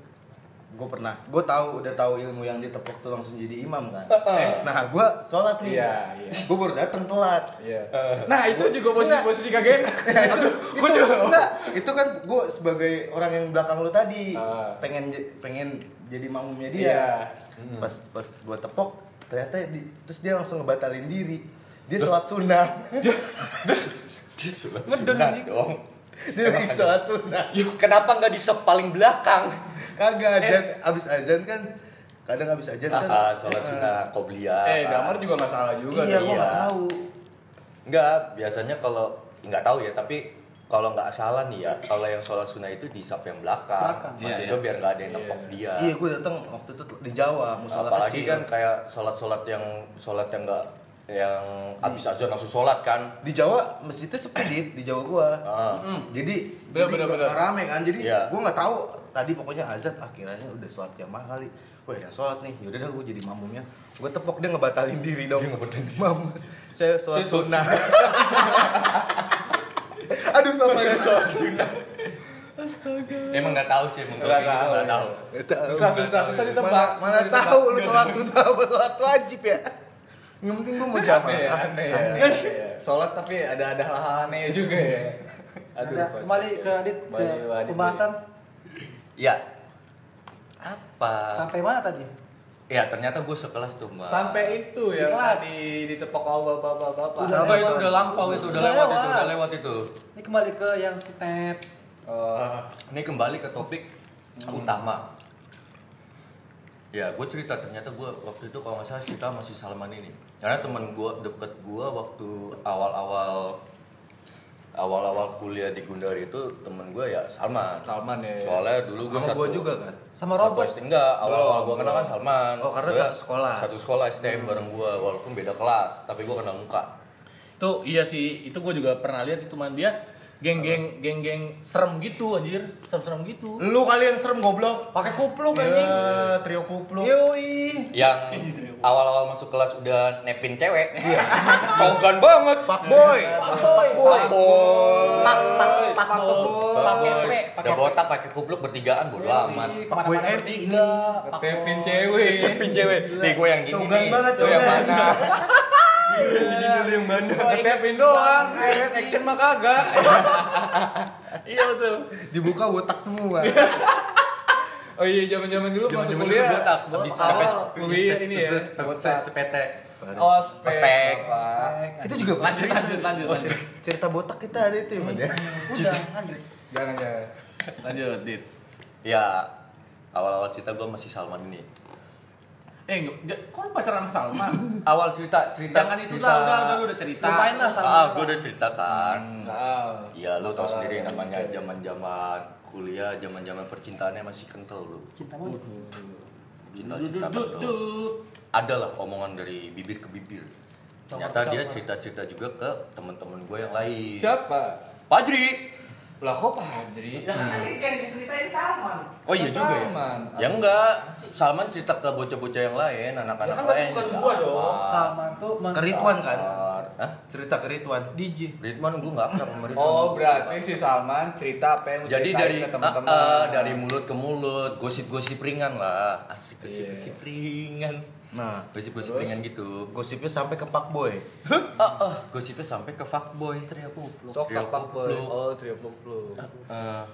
Speaker 1: gue pernah gue tahu udah tahu ilmu yang ditepok tuh langsung jadi imam kan
Speaker 4: Heeh.
Speaker 1: nah gue sholat nih
Speaker 5: Iya, iya.
Speaker 1: gue baru datang telat
Speaker 5: Iya. Nah, itu juga posisi-posisi kagak enak. Aduh,
Speaker 1: itu
Speaker 5: gua juga.
Speaker 1: enggak itu kan gue sebagai orang yang belakang lu tadi
Speaker 5: Ah.
Speaker 4: Uh.
Speaker 1: pengen je- pengen jadi makmumnya dia Hmm.
Speaker 5: Iya.
Speaker 1: pas pas gue tepok ternyata di- terus dia langsung ngebatalin diri dia sholat sunnah
Speaker 4: Di surat
Speaker 1: Ngedon
Speaker 4: sunat
Speaker 1: anjing.
Speaker 4: dong.
Speaker 1: dia lagi sholat sunnah
Speaker 4: Yuk, kenapa nggak di sep paling belakang?
Speaker 1: kagak azan abis azan kan kadang abis azan kan
Speaker 4: Ah, sholat sunnah qobliyah.
Speaker 5: Iya, Eh, damar juga nggak salah juga.
Speaker 1: iya
Speaker 5: tuh.
Speaker 1: gue nggak tahu
Speaker 4: Enggak, biasanya kalau nggak tahu ya, tapi kalau nggak salah nih ya, kalau yang sholat sunnah itu di saf yang belakang.
Speaker 2: Belakang.
Speaker 5: iya,
Speaker 4: Maksudnya biar nggak ada yang nepok dia.
Speaker 1: iya gue datang waktu itu di Jawa musola
Speaker 4: Apalagi
Speaker 1: kecil
Speaker 4: kan kayak sholat-sholat yang sholat yang nggak yang abis azan langsung sholat kan.
Speaker 1: di Jawa masjidnya sepi Dit, di Jawa gua
Speaker 4: Ah.
Speaker 5: Hmm,
Speaker 1: jadi
Speaker 5: Bener,
Speaker 1: jadi
Speaker 5: bener,
Speaker 1: nggak-
Speaker 5: bener.
Speaker 1: nggak rame kan jadi
Speaker 4: Iya.
Speaker 1: gua nggak tahu tadi pokoknya azan akhirnya udah sholat jamaah kali Wah udah sholat nih, yaudah dah gua jadi mamumnya Gua tepok dia ngebatalin diri dong
Speaker 4: Dia ngebatalin diri.
Speaker 1: Mam, saya sholat
Speaker 4: Saya sholat
Speaker 1: sunnah Aduh ya. sampai
Speaker 4: Saya sholat sunnah. Emang nggak tahu sih, emang
Speaker 5: Nggak
Speaker 4: nggak tahu. Nggak
Speaker 5: tahu.
Speaker 4: tahu.
Speaker 5: Susah, susah, susah ditebak.
Speaker 1: Mana, mana tahu lu sholat sunnah apa sholat wajib ya Yang penting gua mau jamaah
Speaker 5: Aneh, aneh, aneh. Iya. Sholat tapi ada ada hal-hal aneh juga ya. Aduh,
Speaker 2: Udah, kembali ke Adit ke
Speaker 5: Kembali ke Adit.
Speaker 2: pembahasan
Speaker 4: Ya. Apa?
Speaker 2: sampai mana tadi?
Speaker 4: Ya ternyata gue sekelas tuh mbak.
Speaker 5: sampai itu ya
Speaker 2: Kelas.
Speaker 5: tadi ditepok sama bapak-bapak.
Speaker 1: Udah.
Speaker 4: Sampai itu udah lampau itu udah
Speaker 5: Iya,
Speaker 2: Udah
Speaker 4: lewat itu
Speaker 2: lewat.
Speaker 4: udah lewat itu.
Speaker 2: Ini kembali ke yang si Ted.
Speaker 5: Oh.
Speaker 4: Ini kembali ke topik utama. Ya, gue cerita ternyata gue waktu itu kalau nggak salah cerita masih Salman ini. Karena temen gue deket gue waktu awal-awal awal-awal kuliah di Gundari itu temen gue ya Salman.
Speaker 5: Salman ya.
Speaker 4: Soalnya dulu gue
Speaker 1: Sama
Speaker 4: satu
Speaker 1: gua juga kan
Speaker 2: Sama
Speaker 4: satu
Speaker 2: Robert.
Speaker 4: SD. Enggak, awal-awal
Speaker 5: Belum,
Speaker 4: gue kenal kan Salman.
Speaker 1: Oh, karena
Speaker 4: Gua
Speaker 1: satu sekolah. Hmm.
Speaker 4: Satu sekolah STM bareng gue walaupun beda kelas, tapi gue kenal muka.
Speaker 2: Tuh iya sih, itu gue juga pernah lihat itu man dia geng-geng geng-geng serem gitu anjir, serem-serem gitu.
Speaker 1: Lu kali yang serem goblok
Speaker 2: Pakai kupluk anjing. Iya.
Speaker 1: Ya, trio kupluk.
Speaker 2: Yoi.
Speaker 4: yang awal-awal masuk kelas udah nepin cewek
Speaker 1: Iya.
Speaker 4: congkan banget pak boy
Speaker 2: Boy.
Speaker 4: pak boy
Speaker 1: Pak pak pak
Speaker 2: Pak Boy.
Speaker 4: Pak
Speaker 2: Pakai P,
Speaker 4: boy
Speaker 2: pakai
Speaker 4: udah botak pakai kupluk bertigaan bodo amat
Speaker 1: pak boy RI ini.
Speaker 5: Tepin cewek.
Speaker 4: nepin cewek nih gue yang gini
Speaker 1: Conggan
Speaker 4: nih
Speaker 1: banget,
Speaker 4: Gua yang
Speaker 1: conggan.
Speaker 4: mana
Speaker 5: Ngetepin doang. Action action mah kagak.
Speaker 2: Iya betul.
Speaker 1: Dibuka wotak semua.
Speaker 5: Oh iya, zaman-zaman dulu masuk
Speaker 4: Jaman-jaman
Speaker 5: kuliah.
Speaker 4: dulu botak habis sampai
Speaker 5: awal kuliah ini ya. botak.
Speaker 4: sepete
Speaker 5: Oh,
Speaker 4: Oh, Ospek.
Speaker 5: Ospek. Bapak.
Speaker 1: Kita juga Oh, iya.
Speaker 2: Lanjut lanjut lanjut. lanjut.
Speaker 1: cerita botak kita ada itu ya, Man, ya.
Speaker 2: Udah lanjut.
Speaker 5: Jangan jangan.
Speaker 2: Lanjut, Dit.
Speaker 4: ya awal-awal cerita gue masih Salman ini
Speaker 2: Eh, nggak- j- kok lu pacaran sama Salma?
Speaker 4: awal cerita cerita
Speaker 2: Jangan itu lah, udah, udah, lu udah cerita.
Speaker 4: lupain lah
Speaker 2: Salman.
Speaker 4: gue Ah, udah cerita kan
Speaker 5: Nah,
Speaker 4: Ya lo tau
Speaker 5: masalah
Speaker 4: sendiri
Speaker 5: dengan
Speaker 4: namanya
Speaker 5: cewek.
Speaker 4: zaman-zaman kuliah, zaman-zaman percintaannya masih kental bro.
Speaker 2: Cinta monyet.
Speaker 4: Cinta-cinta kental. Adalah omongan dari bibir ke bibir. Ternyata dia cerita-cerita juga ke teman-teman gue yang lain.
Speaker 5: Siapa?
Speaker 4: Padri.
Speaker 5: Lah kok Padri?
Speaker 4: Oh iya juga ya.
Speaker 5: Salman.
Speaker 4: Ya enggak, Salman cerita ke bocah-bocah yang lain,
Speaker 2: Ya
Speaker 4: anak-anak
Speaker 2: kan
Speaker 4: lain.
Speaker 2: bukan
Speaker 4: juga
Speaker 2: gua dong.
Speaker 4: apa.
Speaker 2: Salman tuh men-
Speaker 1: Kerituan kan?
Speaker 4: Hah?
Speaker 1: Cerita kerituan.
Speaker 2: DJ.
Speaker 4: Ridwan gue enggak pernah sama Ridwan.
Speaker 5: Oh berarti si Salman cerita apa yang lu
Speaker 4: Jadi
Speaker 5: ceritain
Speaker 4: dari
Speaker 5: ke teman-teman.
Speaker 4: ah, ah, dari mulut ke mulut, gosip-gosip ringan lah. Asik gosip-gosip ringan.
Speaker 1: Nah,
Speaker 4: Gosip-gosip
Speaker 5: Terus?
Speaker 4: ringan gitu.
Speaker 1: gosipnya sampai ke pak boy.
Speaker 4: Ah, ah, gosipnya sampai ke fuckboy. Teriak kupluk.
Speaker 5: sok
Speaker 4: Teriak
Speaker 5: tapak boy.
Speaker 4: kupluk.
Speaker 5: Oh trio pluk pluk.
Speaker 4: Eh,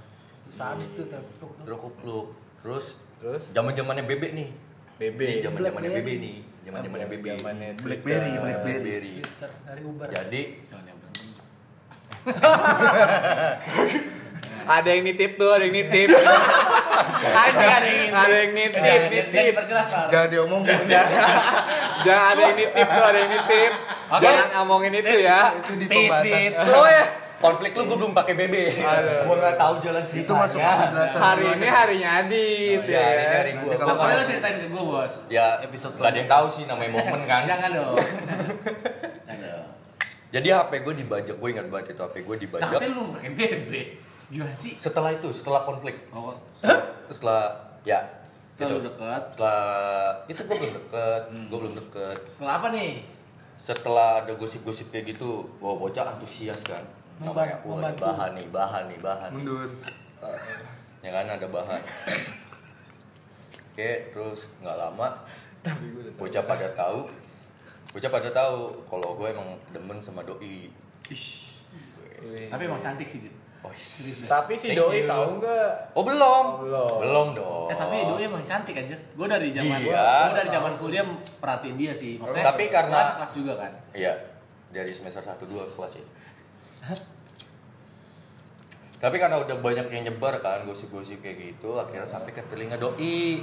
Speaker 2: Sadis tuh
Speaker 1: Kan-
Speaker 2: tapi.
Speaker 4: teriak kupluk. Terus
Speaker 5: Terus
Speaker 4: zaman-zamannya bebek nih. Ini
Speaker 5: BB.
Speaker 4: zaman-zamannya bebek nih. Zaman-zamannya bebek.
Speaker 5: Zamannya
Speaker 1: Blackberry,
Speaker 5: Twitter.
Speaker 1: Blackberry.
Speaker 4: Blackberry.
Speaker 2: Twitter dari Uber.
Speaker 4: Jadi
Speaker 5: Ada yang nitip tuh, ada yang nitip. Ada ada yang ada yang
Speaker 2: Eh,
Speaker 5: nitip,
Speaker 2: Jadi
Speaker 5: nitip.
Speaker 2: perjelas lah.
Speaker 1: Jangan diomongin.
Speaker 5: Jangan jangan ada yang nitip tuh, ada yang nitip. Jangan ngomongin itu ya.
Speaker 1: itu di
Speaker 2: Peace,
Speaker 1: pembahasan.
Speaker 2: Dit.
Speaker 5: Slow ya.
Speaker 4: konflik lu gue belum pakai bebek.
Speaker 5: Aduh.
Speaker 4: Gue nggak tahu jalan ceritanya.
Speaker 1: Itu masuk penjelasan.
Speaker 5: Hari ini harinya Adit
Speaker 4: Oh,
Speaker 5: ya.
Speaker 4: ya, ini dari
Speaker 1: Nanti
Speaker 4: gue.
Speaker 1: kalau-
Speaker 2: Gitu Pokoknya lu ceritain ke gue, Bos.
Speaker 4: Ya,
Speaker 1: Episode
Speaker 4: episode Gak ada yang tahu sih namanya momen kan.
Speaker 2: Jangan dong. Jangan dong.
Speaker 4: Jadi HP gue dibajak, gue ingat banget itu HP gue
Speaker 2: Nah,
Speaker 4: dibajak.
Speaker 2: katanya lu pakai BB. Gimana sih?
Speaker 4: Setelah itu, setelah konflik,
Speaker 2: Oh,
Speaker 4: setelah ya
Speaker 2: setelah lu
Speaker 4: gitu.
Speaker 2: deket. Hmm.
Speaker 4: setelah itu gue belum deket, gue belum deket.
Speaker 2: Setelah apa nih?
Speaker 4: Setelah ada gosip-gosip kayak gitu, wah bocah antusias kan.
Speaker 2: Memban-
Speaker 4: Namanya, wah ada
Speaker 2: membantu. Hmm.
Speaker 4: bahan nih, bahan nih, bahan.
Speaker 1: Mundur.
Speaker 4: Ya kan ada bahan. terus nggak lama bocah pada tahu bocah pada tahu kalau gue emang demen sama doi Eh.
Speaker 2: Tapi emang cantik sih, Jun. Eh,
Speaker 4: oh,
Speaker 2: Serius, Des.
Speaker 5: Tapi si
Speaker 4: Thank
Speaker 5: doi
Speaker 4: you.
Speaker 5: tahu nggak?
Speaker 4: oh belum
Speaker 5: Oh, belum.
Speaker 4: belum dong
Speaker 2: Eh tapi doi emang cantik anjir. Gue dari zaman
Speaker 4: Iya.
Speaker 2: gue dari zaman kuliah perhatiin dia sih. Maksudnya
Speaker 4: Tapi karena-
Speaker 2: kelas juga kan.
Speaker 4: Iya, dari semester 1 2 kelas ya. Tapi karena udah banyak yang nyebar kan gosip-gosip kayak gitu, akhirnya sampai ke telinga doi.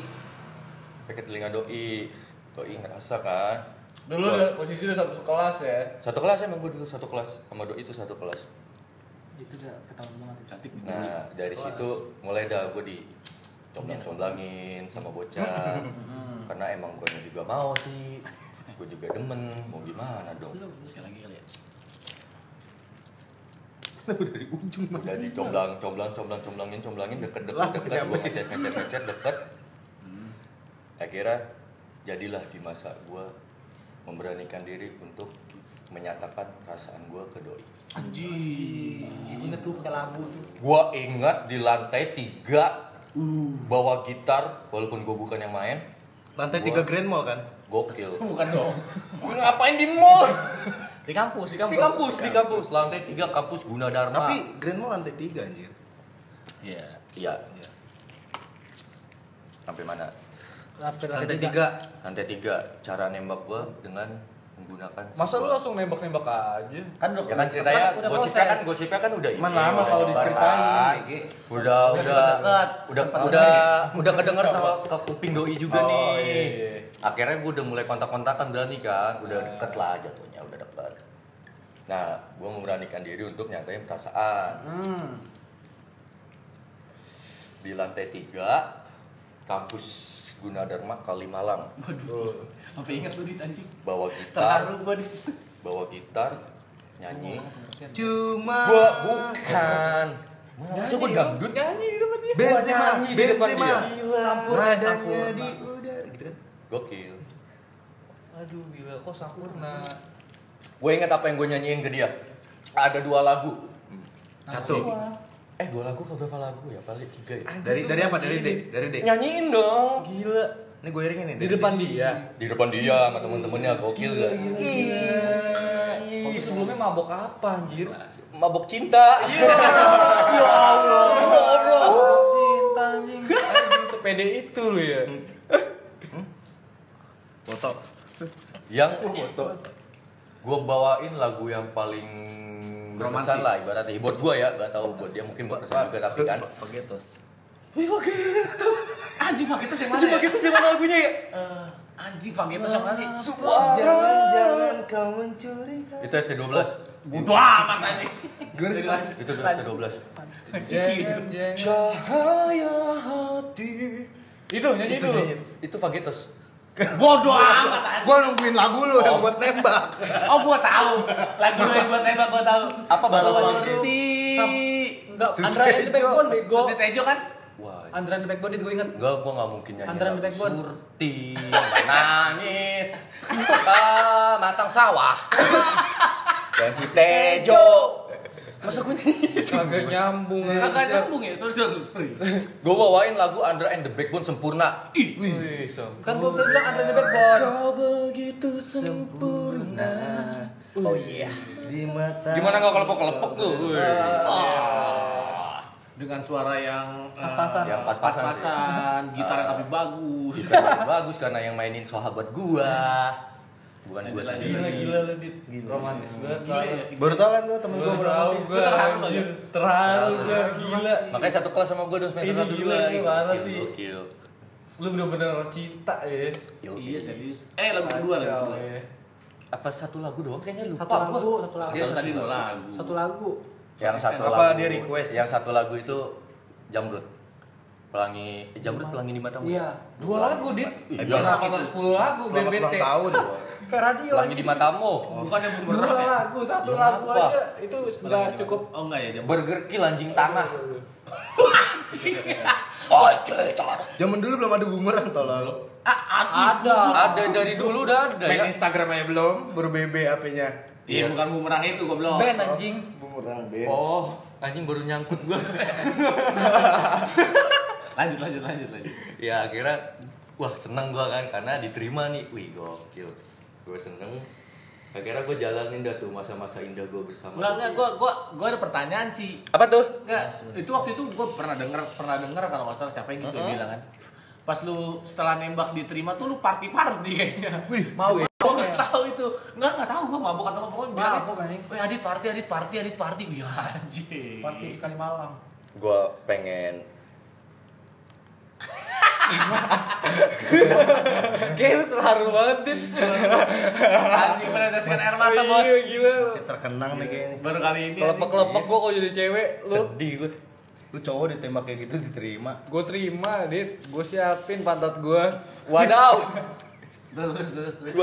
Speaker 4: Sampai ke telinga doi. Doi ngerasa kan.
Speaker 5: Dulu
Speaker 4: Gua-
Speaker 5: udah- posisi udah satu kelas ya.
Speaker 4: satu kelas emang gue dulu satu kelas sama doi itu satu kelas.
Speaker 1: Itu udah ketahuan banget.
Speaker 2: Cantik. gitu.
Speaker 4: Nah, dari situ mulai dah gue di comblang-comblangin sama bocah. karena emang gue juga mau sih. Gue juga demen, mau gimana dong.
Speaker 2: Lu sekali lagi kali ya.
Speaker 1: dari ujung mah.
Speaker 4: udah dicomblang comblang comblang comblangin comblangin deket deket
Speaker 1: Lah, Hmm.
Speaker 4: deket
Speaker 1: kenapa
Speaker 4: gue ngechat ngechat ngechat deket akhirnya jadilah di masa gue memberanikan diri untuk menyatakan perasaan gue ke doi
Speaker 2: Anjir. Ingat tuh pakai labu tuh.
Speaker 4: gue ingat di lantai tiga
Speaker 1: Uh.
Speaker 4: bawa gitar walaupun gue bukan yang main
Speaker 1: Lantai
Speaker 4: Gua-
Speaker 1: tiga Grand Mall kan?
Speaker 4: gokil
Speaker 2: Bukan dong.
Speaker 4: gue ngapain di mall
Speaker 2: Di kampus, di kampus.
Speaker 4: di kampus di kampus lantai tiga kampus Gunadarma
Speaker 1: Tapi Grand Mall lantai tiga anjir.
Speaker 2: Iya.
Speaker 4: iya
Speaker 1: Iya.
Speaker 4: sampai mana
Speaker 1: Lantai tiga.
Speaker 4: lantai tiga cara nembak gue dengan menggunakan
Speaker 5: Masa lu
Speaker 4: sebuah-
Speaker 5: langsung nembak-nembak aja?
Speaker 2: Kan udah
Speaker 4: ya kan ceritanya gosipnya kan gosipnya kan udah ini
Speaker 1: Cuman lama
Speaker 4: udah
Speaker 1: kalau
Speaker 4: nyebar
Speaker 1: diceritain,
Speaker 4: kan.
Speaker 1: Ege.
Speaker 4: udah
Speaker 2: Udah
Speaker 4: udah
Speaker 2: deket.
Speaker 4: udah
Speaker 2: Sempat
Speaker 4: udah udah kedenger sama ke kuping doi juga
Speaker 5: Oh,
Speaker 4: nih
Speaker 5: iya.
Speaker 4: akhirnya gue udah mulai kontak-kontakan berani kan udah deket lah jatuhnya udah deket nah gue memberanikan diri untuk nyatain perasaan
Speaker 2: Hmm.
Speaker 4: di lantai tiga kampus Gunadarma Kalimalang
Speaker 2: Waduh. Sampai ingat lu dit anjing.
Speaker 4: bawa gitar
Speaker 2: Terharu gue dit.
Speaker 4: bawa gitar nyanyi
Speaker 1: Cuma
Speaker 4: gua bukan masa gua dangdut
Speaker 5: Nyanyi di depan dia.
Speaker 1: Benzema,
Speaker 4: Gua nyanyi di depan
Speaker 1: Benzema.
Speaker 4: dia.
Speaker 5: Sampurna,
Speaker 1: Nadanya
Speaker 5: sampurna.
Speaker 1: di udara gitu kan.
Speaker 4: gokil
Speaker 5: Aduh gila kok sempurna.
Speaker 4: gue inget apa yang gue nyanyiin ke dia ada dua lagu
Speaker 2: Nah,
Speaker 1: Satu.
Speaker 4: eh dua lagu apa berapa lagu ya paling tiga ya
Speaker 1: Dari dari apa? Dari D, dari D.
Speaker 4: nyanyiin dong gila
Speaker 1: Ini gue iringin nih.
Speaker 5: Di
Speaker 1: dari
Speaker 5: depan
Speaker 1: D.
Speaker 5: dia.
Speaker 4: di depan dia sama temen-temennya gokil gak Iya.
Speaker 5: Waktu sebelumnya mabok apa anjir?
Speaker 4: mabok cinta Iya.
Speaker 5: Cinta anjing. Anjing, Sepede itu lu ya.
Speaker 1: foto.
Speaker 4: yang
Speaker 1: Foto.
Speaker 4: gue bawain lagu yang paling berkesan
Speaker 1: Romantis.
Speaker 4: lah ibaratnya buat gue ya gak tahu buat dia mungkin berkesan juga tapi kan
Speaker 1: Pakai tos.
Speaker 2: Anjing Fagetos yang mana? Anjing Fagetos yang mana gitu lagunya ya? anjing Fagetos yang mana sih? Suara.
Speaker 1: Jangan-jangan kau mencuri.
Speaker 4: itu ST12
Speaker 2: Bodoh amat anjing.
Speaker 1: Gue udah start.
Speaker 4: itu ST12
Speaker 2: Ciki.
Speaker 4: cahaya hati
Speaker 5: Itu nyanyi itu lu.
Speaker 4: itu Fagetos
Speaker 2: Bodoh amat anjing.
Speaker 1: Gue nungguin lagu lu yang buat nembak.
Speaker 2: Oh gua tahu. Lagu yang buat tembak gua tahu.
Speaker 4: Apa
Speaker 2: Balapan
Speaker 4: balapan
Speaker 2: City.
Speaker 5: Enggak,
Speaker 1: Sudah
Speaker 5: Andra and the
Speaker 1: hijau.
Speaker 5: Backbone bego.
Speaker 2: Suntet Ejo kan?
Speaker 4: wah
Speaker 5: Andra and the Backbone itu gue inget.
Speaker 4: Enggak, gue gak mungkin nyanyi
Speaker 5: Antara di
Speaker 4: lagu
Speaker 5: backbone.
Speaker 4: Surti Nangis ah, Matang sawah Dan si Tejo Masa gue nyanyi
Speaker 5: Kagak nyambung
Speaker 2: Kakak
Speaker 5: anjir.
Speaker 2: nyambung ya. Sorry sorry sorry.
Speaker 4: Gue bawain lagu Under and the Backbone sempurna
Speaker 5: Wih, sombong. Kan gue bilang Andra and the Backbone.
Speaker 4: Kau begitu sempurna Oh iya
Speaker 1: Di mata.
Speaker 4: Gimana gak kelepok-kelepok tuh?
Speaker 2: Dengan suara yang eh,
Speaker 5: Pas-pasan.
Speaker 4: Yang pas-pasan sih. iya,
Speaker 2: pas-pasan, gitarnya tapi bagus.
Speaker 4: Gitar bagus karena yang mainin sahabat gua Bukan gua sendiri
Speaker 5: gila lu dit. Romantis banget.
Speaker 2: Gila ya.
Speaker 1: Baru tau kan lu temen gue
Speaker 5: Gue tahu
Speaker 1: berapa?
Speaker 5: gue
Speaker 2: Terharu
Speaker 5: anjir.
Speaker 2: gak?
Speaker 5: Terharu gue gila.
Speaker 4: Makanya satu kelas sama gua dong semester
Speaker 5: Ini
Speaker 4: satu
Speaker 5: gila,
Speaker 4: dua.
Speaker 5: ini
Speaker 4: Gokil,
Speaker 5: parah sih.
Speaker 4: Gokil
Speaker 5: Lu bener-bener cinta ya.
Speaker 4: Yoi.
Speaker 2: Iya serius. Eh lagu kedua
Speaker 5: Kacau,
Speaker 2: lagu kedua.
Speaker 5: ya.
Speaker 4: apa satu lagu doang kayaknya
Speaker 2: Eh,
Speaker 4: lupa
Speaker 5: Satu lagu,
Speaker 4: gua.
Speaker 5: satu lagu.
Speaker 2: Dia tadi dua lagu.
Speaker 5: Satu lagu.
Speaker 4: yang satu
Speaker 1: Apa
Speaker 4: lagu
Speaker 1: dia request?
Speaker 4: yang satu lagu itu jamrut pelangi eh, jamrut pelangi di matamu
Speaker 5: Iya, dua lagu, Dit.
Speaker 4: Iya.
Speaker 5: Kenapa nggak sepuluh lagu
Speaker 1: Selamat
Speaker 5: BBT?
Speaker 1: ulang tahun.
Speaker 5: Ke radio lagi.
Speaker 4: pelangi di matamu
Speaker 5: Iya.
Speaker 2: Bukan yang
Speaker 5: Dua
Speaker 2: berat ya.
Speaker 5: lagu, satu lagu
Speaker 4: Apa?
Speaker 5: aja itu udah cukup.
Speaker 2: Oh enggak ya, dia
Speaker 4: burger kill anjing tanah
Speaker 5: Iya,
Speaker 1: Zaman dulu belum ada bumerang tolol.
Speaker 2: Ah,
Speaker 5: Ada.
Speaker 4: ada
Speaker 2: Iya,
Speaker 4: dari dulu udah ada ya
Speaker 1: Main Instagram aja belum, baru BB HP-nya.
Speaker 2: Iya bukan bumerang itu goblok.
Speaker 5: Band anjing.
Speaker 1: Bumerang, Ben.
Speaker 4: oh anjing baru nyangkut gua
Speaker 2: lanjut lanjut lanjut lanjut
Speaker 4: ya akhirnya wah seneng gua kan karena diterima nih wih gokil gue seneng akhirnya gue jalanin dah tuh masa-masa indah gue bersama
Speaker 2: Enggak, enggak, gua gua gua ada pertanyaan sih.
Speaker 3: Apa tuh?
Speaker 2: Enggak, itu waktu itu gua pernah denger, pernah denger kalau nggak salah siapa yang gitu yang bilang kan. Pas lu setelah nembak diterima tuh lu party-party kayaknya. Wih, mau
Speaker 4: wih.
Speaker 2: gua nggak tahu itu. Enggak, enggak tahu gua mabok atau apa pokoknya bilang.
Speaker 7: Mabok, anjing.
Speaker 2: Wih, Adit party, Adit party, Adit party. Wih, anjing.
Speaker 7: Party di Kalimalang.
Speaker 3: Gue pengen
Speaker 5: Kayak lu terharu banget, Dit.
Speaker 2: Anjing meneteskan air mata, Bos.
Speaker 5: Iya, gila.
Speaker 1: Si terkenang nih kayaknya.
Speaker 2: Baru kali ini. anjing.
Speaker 5: Kelepek-kelepek gua kok jadi cewek, lu.
Speaker 4: sedih gue
Speaker 1: Lu cowok ditembak kayak gitu diterima.
Speaker 5: Gue terima, Dit. Gue siapin pantat gue.
Speaker 3: Wadaw
Speaker 2: Terus terus terus terus.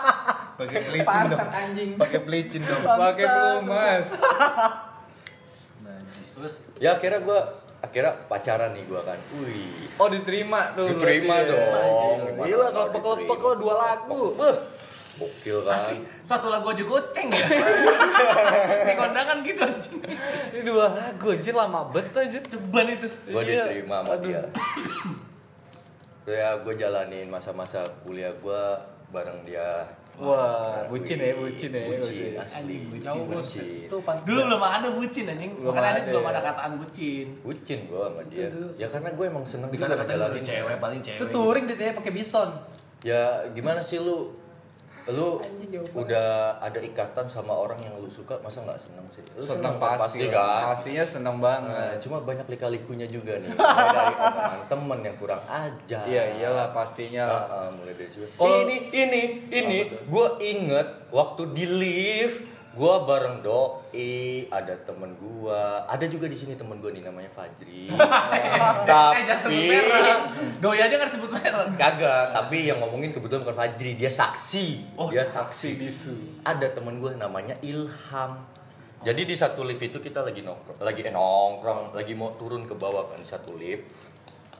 Speaker 1: Pakai pelicin
Speaker 7: Pantat
Speaker 1: dong.
Speaker 7: anjing.
Speaker 1: Pakai pelicin dong.
Speaker 5: Pakai pelumas.
Speaker 1: Najis.
Speaker 2: Terus
Speaker 4: ya akhirnya gue akhirnya pacaran nih gue kan wih
Speaker 5: Oh, diterima tuh.
Speaker 3: Diterima
Speaker 5: berarti ya.
Speaker 3: dong.
Speaker 5: Gila,
Speaker 3: Gimana
Speaker 5: Gila,
Speaker 3: kalau
Speaker 5: kelepek-kelepek lo
Speaker 3: diterima?
Speaker 5: dua lagu. Beuh.
Speaker 4: gokil kan
Speaker 2: satu lagu aja goceng ya. Di kondangan gitu anjing.
Speaker 5: Ini dua lagu, anjir lama bet anjir.
Speaker 2: Ceban itu.
Speaker 4: gue
Speaker 5: Iya.
Speaker 4: diterima sama
Speaker 5: Aduh.
Speaker 4: dia Terus ya gue jalanin masa-masa kuliah gue bareng dia
Speaker 5: Wah, bucin ya, bucin ya.
Speaker 4: bucin
Speaker 5: maksudnya.
Speaker 4: asli bucin
Speaker 7: Jauh bos.
Speaker 4: bucin
Speaker 7: Itu pantat.
Speaker 2: Dulu belum ada bucin anjing.
Speaker 5: Belum
Speaker 2: Makanya ada
Speaker 5: ada
Speaker 2: belum
Speaker 5: ya.
Speaker 2: ada kataan bucin.
Speaker 4: bucin gue sama dia ya karena gue emang seneng juga
Speaker 1: Dikata-kata
Speaker 4: ngejalanin
Speaker 1: lu cewek paling cewek.
Speaker 7: Itu touring deh pakai bison.
Speaker 4: ya gimana sih lu lu
Speaker 7: Anjing, jauh banget.
Speaker 4: udah ada ikatan sama orang yang lu suka masa nggak seneng sih lu
Speaker 5: Seneng
Speaker 4: seneng
Speaker 5: pasti kan. Pastinya seneng
Speaker 4: Nah,
Speaker 5: banget.
Speaker 4: cuma banyak lika-likunya juga nih mulai dari omongan temen yang kurang ajar
Speaker 5: Iya, iyalah pastinya
Speaker 4: Ah,
Speaker 5: lah.
Speaker 4: ah, mulai dari situ.
Speaker 5: Kalau-
Speaker 4: ini ini ini gue inget waktu di lift gue bareng doi ada temen gue ada juga di sini temen gue nih namanya Fajri
Speaker 2: Eh jangan sebut
Speaker 5: Tapi
Speaker 2: merek. Doi aja kan sebut merek.
Speaker 4: kagak tapi yang ngomongin kebetulan bukan Fajri dia saksi
Speaker 2: Oh,
Speaker 4: dia
Speaker 5: saksi bisu.
Speaker 4: ada temen gue namanya Ilham jadi di satu lift itu kita lagi nongkrong, lagi eh, nongkrong, lagi mau turun ke bawah kan di satu lift.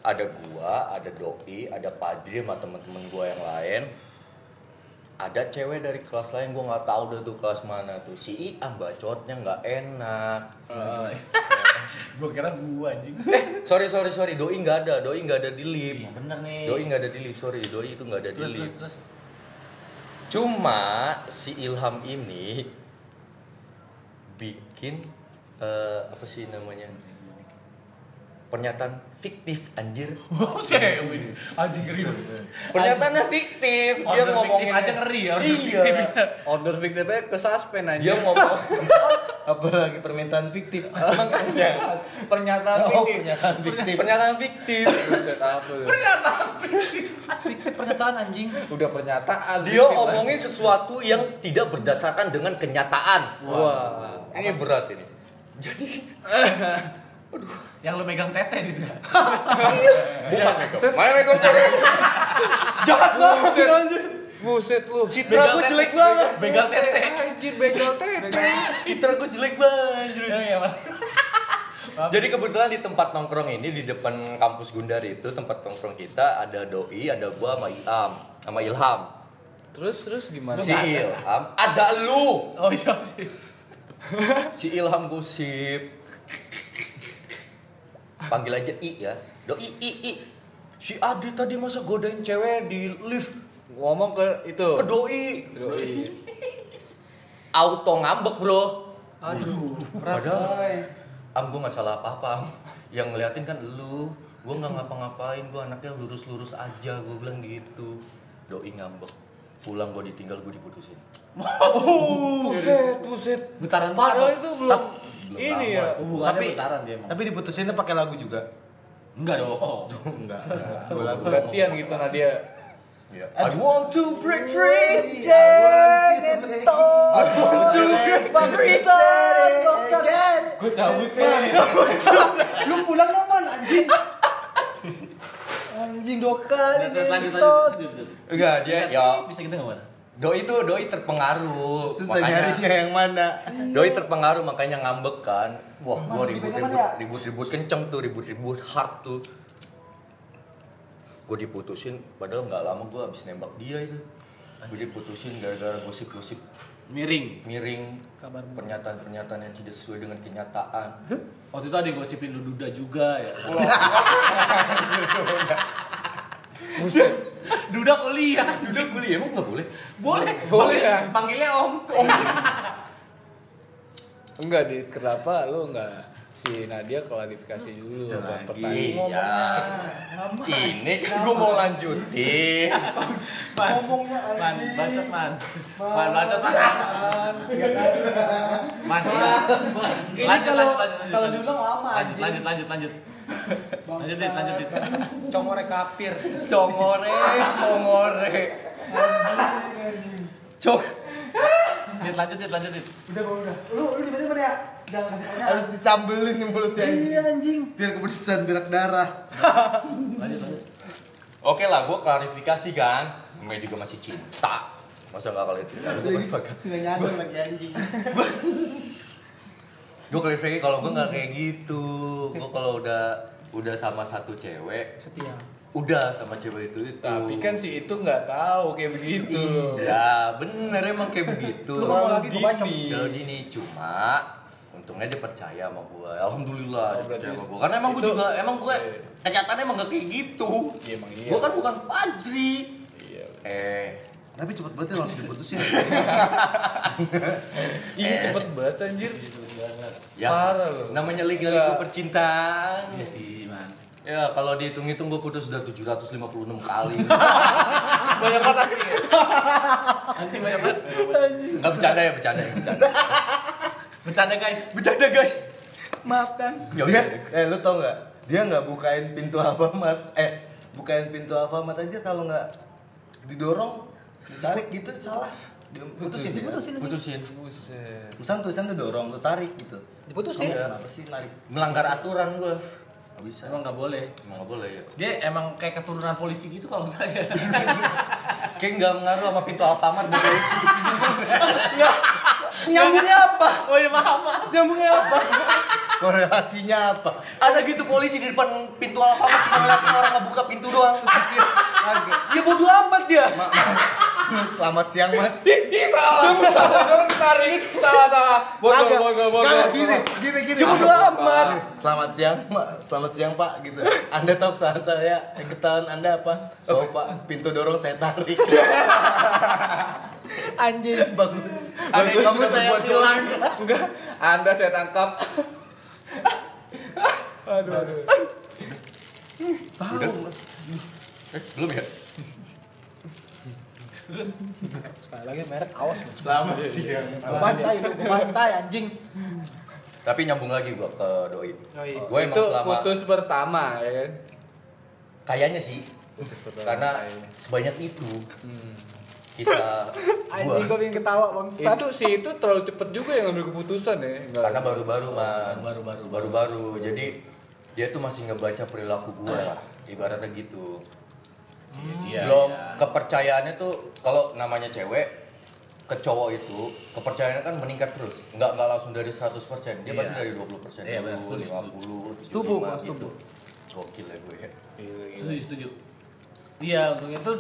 Speaker 4: Ada gua, ada Doi, ada Padri sama temen-temen gua yang lain. Ada cewek dari kelas lain gua nggak tahu dah tuh kelas mana tuh. Si Iam bacotnya nggak enak.
Speaker 5: Eh.
Speaker 2: Gua kira gua anjing.
Speaker 4: Sorry sorry sorry, Doi nggak ada, Doi nggak ada di lift.
Speaker 2: Iya bener nih.
Speaker 4: Doi nggak ada di lift, sorry, Doi itu nggak ada di
Speaker 2: Terus terus
Speaker 4: lift.
Speaker 2: terus.
Speaker 4: Cuma si Ilham ini bikin eh, apa sih namanya? pernyataan fiktif anjir.
Speaker 2: Wow, cewek. Anjing ngeri.
Speaker 4: Pernyataannya fiktif,
Speaker 2: Order Oh,
Speaker 4: dia
Speaker 2: fiktif
Speaker 4: ngomongin
Speaker 2: aja ngeri ya, order
Speaker 4: Iya.
Speaker 2: fiktif.
Speaker 5: Order fiktifnya ke suspend aja.
Speaker 4: Dia ngomong
Speaker 1: Apalagi permintaan fiktif.
Speaker 3: Ya.
Speaker 4: makanya
Speaker 5: Pernyataan
Speaker 1: Oh,
Speaker 5: fiktif.
Speaker 1: pernyataan fiktif.
Speaker 4: pernyataan fiktif.
Speaker 5: Buset, apa ya? tuh?
Speaker 7: Fiktif pernyataan anjing.
Speaker 5: Udah pernyataan. fiktif,
Speaker 4: Dia
Speaker 5: lah.
Speaker 4: ngomongin sesuatu yang tidak berdasarkan dengan kenyataan.
Speaker 5: Wah.
Speaker 4: Ini berat ini. Jadi
Speaker 2: Yang lu megang tete gitu.
Speaker 5: Buset,
Speaker 4: Mana Meko? Jahat banget anjir.
Speaker 5: buset lu. Eh,
Speaker 4: Citra gue jelek banget.
Speaker 2: Begal tete.
Speaker 5: Anjir, begal tete.
Speaker 4: Citra gue jelek banget. anjir.
Speaker 2: Ya, ya, Bang.
Speaker 4: Jadi kebetulan di tempat nongkrong ini di depan kampus Gundari itu tempat nongkrong kita ada Doi, ada gua sama Ilham, sama Ilham.
Speaker 5: Terus, terus gimana?
Speaker 4: Si Ilham, ada lu.
Speaker 2: Oh iya sih.
Speaker 4: Si Ilham gosip. Panggil aja I ya. Doi I I. Si Adi tadi masa godain cewek di lift
Speaker 5: Ngomong ke itu.
Speaker 4: ke Doi. Auto ngambek, Bro.
Speaker 7: Aduh,
Speaker 4: Padahal-
Speaker 7: coy.
Speaker 4: Am gue nggak salah apa-apa Am. Yang ngeliatin kan lu Gue nggak ngapa-ngapain Gue anaknya lurus-lurus aja Gue bilang gitu Doi ngambek Pulang gue ditinggal gue diputusin
Speaker 5: Buset, buset.
Speaker 2: Betaran
Speaker 5: Oh. Padahal
Speaker 2: banget.
Speaker 5: itu belum
Speaker 4: belum
Speaker 5: ini
Speaker 4: lama
Speaker 5: ya.
Speaker 4: itu.
Speaker 2: Hubungannya
Speaker 1: Tapi-
Speaker 2: betaran dia emang.
Speaker 1: Tapi diputusinnya pakai lagu juga. Oh,
Speaker 2: Enggak dong.
Speaker 1: Enggak. enggak. Dua lagu.
Speaker 5: Gantian gitu Nadia.
Speaker 1: Iya.
Speaker 4: Ya. I want to break free
Speaker 1: Yeah,
Speaker 5: Gue cabut banget.
Speaker 7: Lu pulang dong, Man, anjing. Anjing doka nih.
Speaker 2: Terus lanjut
Speaker 7: gentot.
Speaker 2: lanjut. lanjut.
Speaker 4: Enggak
Speaker 1: Iya,
Speaker 4: dia ya
Speaker 2: Bisa gitu enggak, Bang?
Speaker 4: Doi itu Doi terpengaruh
Speaker 1: Susah
Speaker 4: makanya
Speaker 1: nyarinya yang mana?
Speaker 4: Doi terpengaruh makanya ngambek kan Wah gue ribut-ribut
Speaker 7: ya?
Speaker 4: Ribut-ribut kenceng tuh Ribut-ribut hard tuh Gue diputusin Padahal nggak lama gue abis nembak dia itu Gue diputusin gara-gara gosip-gosip
Speaker 2: Miring.
Speaker 4: miring pernyataan-pernyataan yang tidak sesuai dengan kenyataan.
Speaker 2: Waktu itu ada yang gosipin lu duda juga ya. Duda kuliah.
Speaker 4: Duduk kuliah emang nggak boleh?
Speaker 2: Boleh.
Speaker 5: Boleh ya?
Speaker 2: Panggil- Panggilnya Om. Om.
Speaker 3: Enggak, Dit. Kenapa lu enggak si Nadia klarifikasi dulu
Speaker 5: Nah, gitu.
Speaker 4: Udah
Speaker 3: buat
Speaker 4: lagi.
Speaker 3: pertanyaan?
Speaker 4: Ya. Ini kan gue mau lanjutin.
Speaker 2: Man. Man, bacot man. Man, bacot man. Man.
Speaker 7: Ini
Speaker 2: Lanjut,
Speaker 7: kalau
Speaker 2: lanjut, lanjut,
Speaker 7: kalau
Speaker 2: lanjut.
Speaker 7: diulang lama
Speaker 2: Lanjut,
Speaker 7: anjing.
Speaker 2: lanjut, lanjut, lanjut. Lanjut, Dit, lanjut, Dit.
Speaker 7: Congore kapir.
Speaker 4: Congore, congore. Cok.
Speaker 2: Dit, lanjut, Dit, lanjut, Dit.
Speaker 7: Udah, gua udah. Lu lu tiba-tiba ya. Jangan kasih pertanyaan.
Speaker 1: Harus disambelin nih mulutnya
Speaker 7: Iya
Speaker 1: anjing.
Speaker 7: anjing.
Speaker 1: Biar kepedesan berak darah.
Speaker 2: Lanjut, lanjut.
Speaker 4: Oke lah, gue klarifikasi kan. Namanya juga masih cinta. Masa nggak klarifikasi?
Speaker 1: Nggak nyadar lagi anjing.
Speaker 4: Gue klarifikasi kalau gue
Speaker 3: Hmm.
Speaker 4: nggak kayak gitu. Gue kalau udah udah sama satu cewek,
Speaker 7: Setia.
Speaker 4: udah sama cewek itu itu.
Speaker 3: Tapi kan si itu nggak tahu kayak begitu loh.
Speaker 4: Ya bener emang kayak begitu.
Speaker 7: Lu ngomong lagi, gua bacok.
Speaker 4: dini. Terlalu dini cuma untungnya dia percaya sama gue. Alhamdulillah
Speaker 3: Oh,
Speaker 4: dia percaya
Speaker 3: berarti
Speaker 4: sama gue. Karena emang gue
Speaker 3: itu-
Speaker 4: juga emang gue
Speaker 3: Iya.
Speaker 4: kenyataannya emang gak kayak gitu.
Speaker 3: Iya, emang iya.
Speaker 4: Gue kan bukan Fajri.
Speaker 3: Iya.
Speaker 4: Eh,
Speaker 1: Tapi cepet banget ya langsung diputusin.
Speaker 7: Eh.
Speaker 3: Iya cepet banget anjir.
Speaker 4: ya
Speaker 3: Parah Iya. loh.
Speaker 4: namanya legal
Speaker 3: Enggak.
Speaker 4: itu percintaan.
Speaker 2: Iya sih, man.
Speaker 4: Ya kalau dihitung-hitung gue putus sudah 756 kali.
Speaker 2: Banyak banget anjing. Anjing banyak banget.
Speaker 4: Enggak bercanda ya, bercanda ya,
Speaker 3: Iya.
Speaker 4: bercanda.
Speaker 2: Bercanda, guys.
Speaker 4: Bercanda guys.
Speaker 2: Maafkan.
Speaker 4: Ya
Speaker 1: dia,
Speaker 4: udah.
Speaker 1: eh lu tau nggak? Dia nggak bukain pintu Alfamart. Eh, bukain pintu Alfamart aja kalau nggak didorong, ditarik gitu salah. Dia putusin.
Speaker 7: Putusin.
Speaker 1: Putusin.
Speaker 7: anjing.
Speaker 4: Putusin.
Speaker 3: Buset.
Speaker 1: Misalnya tulisan didorong, lu tarik gitu.
Speaker 7: Diputusin.
Speaker 1: Kamu Kenapa sih narik?
Speaker 4: Melanggar aturan gue.
Speaker 1: Nggak bisa.
Speaker 2: Emang nggak boleh.
Speaker 4: Emang nggak boleh ya.
Speaker 2: Dia emang kayak keturunan polisi gitu kalau saya.
Speaker 4: Kayak nggak ngaruh sama pintu Alfamart gue isi.
Speaker 1: Nyambungnya apa?
Speaker 2: oh iya, maaf, maaf.
Speaker 1: Nyambungnya apa? Korelasinya apa?
Speaker 4: Ada gitu polisi di depan pintu Alfamart cuma ngeliatin orang ngebuka pintu doang. Terus dia,
Speaker 1: Kaget.
Speaker 4: Ya bodo amat dia.
Speaker 1: Ma- ma- Selamat siang mas.
Speaker 3: Ih, salah. Salah dorong tarik. Salah salah. Bogor
Speaker 1: Kagak.
Speaker 3: bogor bogor.
Speaker 1: Kagak, gini, gini, gini.
Speaker 3: Ya bodo amat.
Speaker 1: Selamat siang, Pak. Selamat siang, Pak. Gitu. Anda tahu kesalahan saya, eh, kesalahan Anda apa? Oh, Pak, pintu dorong saya tarik.
Speaker 7: Anjing.
Speaker 1: Bagus.
Speaker 3: Anda
Speaker 1: Bagus,
Speaker 3: sudah
Speaker 1: saya
Speaker 3: berbuat
Speaker 1: bilang.
Speaker 3: Enggak. Anda saya tangkap. aduh aduh.
Speaker 1: Tahu, Mas.
Speaker 4: Eh, belum ya?
Speaker 7: Sekali lagi merek awas. Mas.
Speaker 1: Selamat siang, Pak.
Speaker 7: Bantai itu, bantai anjing.
Speaker 4: Tapi nyambung lagi gue ke doi.
Speaker 7: Doi.
Speaker 4: Gue emang
Speaker 3: Itu
Speaker 4: selama
Speaker 3: putus pertama ya kan.
Speaker 4: kayaknya sih
Speaker 3: Putus
Speaker 5: Iya,
Speaker 3: pertama.
Speaker 4: karena
Speaker 3: kayaknya.
Speaker 4: sebanyak itu kisah
Speaker 7: Anjing
Speaker 4: gue
Speaker 7: gua pengen ketawa bangsat.
Speaker 3: itu si itu terlalu cepet juga yang ngambil keputusan ya. Enggak.
Speaker 4: karena baru-baru man
Speaker 2: Baru-baru,
Speaker 4: baru-baru jadi dia tuh masih ngebaca perilaku gue lah ibaratnya gitu
Speaker 2: Iya,
Speaker 4: belum kepercayaannya tuh kalau namanya cewek ke cowok itu kepercayaannya kan meningkat terus nggak nggak langsung dari 100% dia pasti dari 20% persen
Speaker 2: Iya, benar.
Speaker 4: dulu
Speaker 2: Setuju,
Speaker 4: 50
Speaker 7: Setuju, Mas,
Speaker 4: 75 gitu. gokil ya gue
Speaker 2: setuju setuju iya untungnya tuh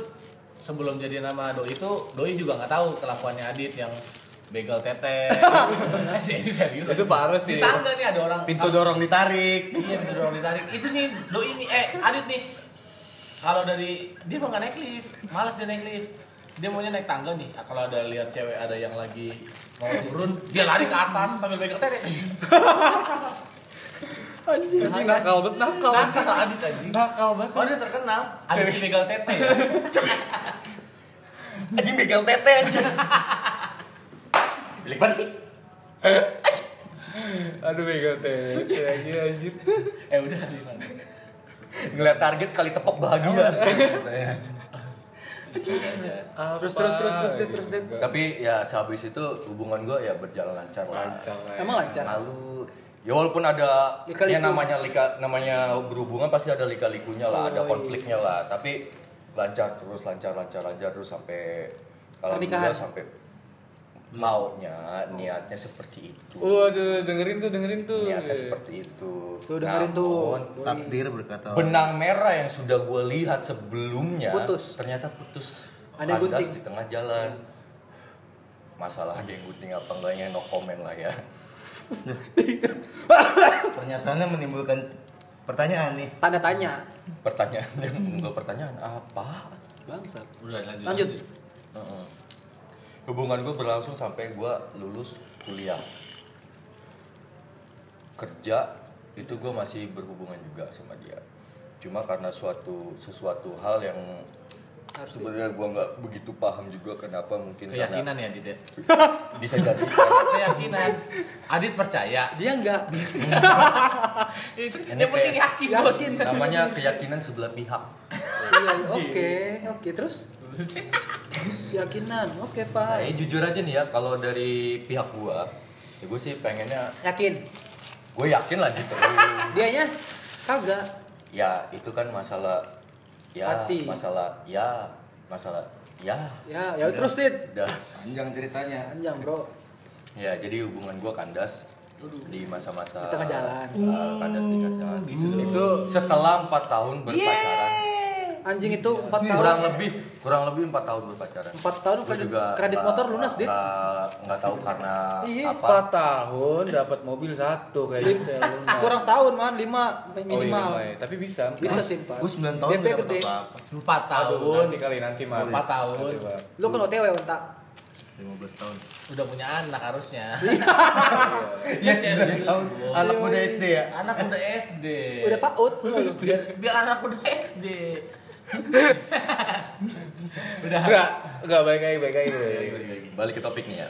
Speaker 2: sebelum jadi nama doi itu doi juga nggak tahu kelakuannya adit yang begal tete ini serius
Speaker 3: Itu parah sih.
Speaker 2: di tangga nih ada orang
Speaker 1: Pintu dorong ditarik.
Speaker 2: iya pintu dorong ditarik itu nih doi nih eh adit nih kalau dari dia mau nggak naik lift malas dia naik lift dia maunya naik tangga nih Ah, kalau ada lihat cewek ada yang lagi mau turun dia lari ke atas sambil begal tete
Speaker 3: Anjing nakal banget nakal.
Speaker 2: nakal adit aja
Speaker 3: Nakal banget.
Speaker 2: Oh dia terkenal, adit si begal tete ya?
Speaker 4: anjing begal tete anjing Bilik banget
Speaker 3: Aduh begal teh. Anjir anjir.
Speaker 2: Eh udah kali Bang.
Speaker 4: ngeliat target sekali tepok bahagia
Speaker 7: Terus terus terus terus terus terus. terus.
Speaker 4: tapi ya sehabis itu hubungan gue ya berjalan lancar lah
Speaker 3: Lancar lah.
Speaker 7: Emang lancar. ya.
Speaker 4: Lalu ya walaupun ada
Speaker 7: Lika-liku.
Speaker 4: yang namanya lika namanya berhubungan pasti ada lika-likunya lah,
Speaker 7: Oh, iya.
Speaker 4: ada konfliknya lah. Tapi lancar terus, lancar, lancar, lancar terus sampai alhamdulillah
Speaker 7: Pernikahan.
Speaker 4: sampai maunya niatnya seperti itu.
Speaker 3: Waduh, dengerin tuh, dengerin tuh.
Speaker 4: Niatnya seperti itu. Ya
Speaker 7: Tuh dengerin
Speaker 4: Namun,
Speaker 7: tuh.
Speaker 1: Takdir berkata. Allah.
Speaker 4: Benang merah yang sudah gue lihat sebelumnya
Speaker 7: Putus.
Speaker 4: ternyata putus.
Speaker 7: Ada yang
Speaker 4: Kandas
Speaker 7: gunting.
Speaker 4: di tengah jalan. Masalah ada yang gunting apa enggaknya no comment lah ya.
Speaker 1: Pernyataannya menimbulkan pertanyaan nih.
Speaker 7: Tanda tanya.
Speaker 4: pertanyaan yang
Speaker 7: Hmm.
Speaker 4: nggak pertanyaan apa
Speaker 8: Bangsat.
Speaker 2: Udah lanjut.
Speaker 8: Lanjut.
Speaker 4: Heeh. Hubungan gue berlangsung sampai gue lulus kuliah. Kerja itu gue masih berhubungan juga sama dia. Cuma karena suatu sesuatu hal yang sebenarnya gue nggak begitu paham juga kenapa mungkin
Speaker 2: Keyakinan ya Adit ya?
Speaker 4: karena bisa jadi
Speaker 2: Keyakinan. Adit percaya.
Speaker 8: Dia enggak.
Speaker 2: Itu
Speaker 4: Ini
Speaker 2: yang penting
Speaker 4: kayak-
Speaker 2: yakin bos.
Speaker 4: namanya keyakinan sebelah pihak.
Speaker 8: Iya, Oke, oke terus keyakinan. Oke,
Speaker 4: Nah,
Speaker 8: Pak.
Speaker 4: ini jujur aja nih ya kalau dari pihak gue, ya gue sih pengennya
Speaker 8: Yakin.
Speaker 4: gue yakin lah gitu. Gua-
Speaker 8: Dianya kagak.
Speaker 4: ya itu kan masalah ya
Speaker 8: Hati.
Speaker 4: masalah ya masalah ya
Speaker 8: Ya, ya terus, Dit.
Speaker 4: Udah.
Speaker 1: Panjang ceritanya.
Speaker 8: Panjang, Bro.
Speaker 4: ya jadi hubungan gua kandas di masa-masa
Speaker 8: Di tengah jalan. Oh.
Speaker 4: uh, kandas di tengah jalan gitu.
Speaker 3: Itu
Speaker 4: setelah empat tahun berpacaran
Speaker 8: Anjing itu 4
Speaker 4: kurang
Speaker 8: tahun.
Speaker 4: lebih kurang lebih empat tahun berpacaran
Speaker 8: 4 tahun
Speaker 4: Gua
Speaker 8: kredit, kredit
Speaker 4: nggak-
Speaker 8: motor lunas, Dit.
Speaker 4: nggak nggak tahu karena
Speaker 8: Iya,
Speaker 4: apa
Speaker 3: empat tahun dapat mobil satu kayak gitu ya, lunas.
Speaker 8: Ah, Kurang setahun, Man. 5
Speaker 3: Oh, iya,
Speaker 8: minimal.
Speaker 3: Bay. tapi bisa
Speaker 8: Bisa sih, Pak.
Speaker 1: Gue 9 tahun
Speaker 8: DP
Speaker 1: nggak
Speaker 8: gede.
Speaker 1: pernah
Speaker 2: Empat
Speaker 3: tahun
Speaker 2: tahun.
Speaker 3: dikali nanti mah
Speaker 2: Empat tahun.
Speaker 3: Nanti, Bang.
Speaker 8: Lu kan OTW, Unta.
Speaker 1: 15 tahun.
Speaker 2: Udah punya anak harusnya.
Speaker 1: Iya, 9 tahun. Anak muda SD ya.
Speaker 2: Anak udah SD.
Speaker 8: Udah PAUD.
Speaker 2: Biar, biar anak udah SD. udah.
Speaker 3: Enggak, enggak baik lagi, baik lagi. baik lagi.
Speaker 4: balik ke topik nih ya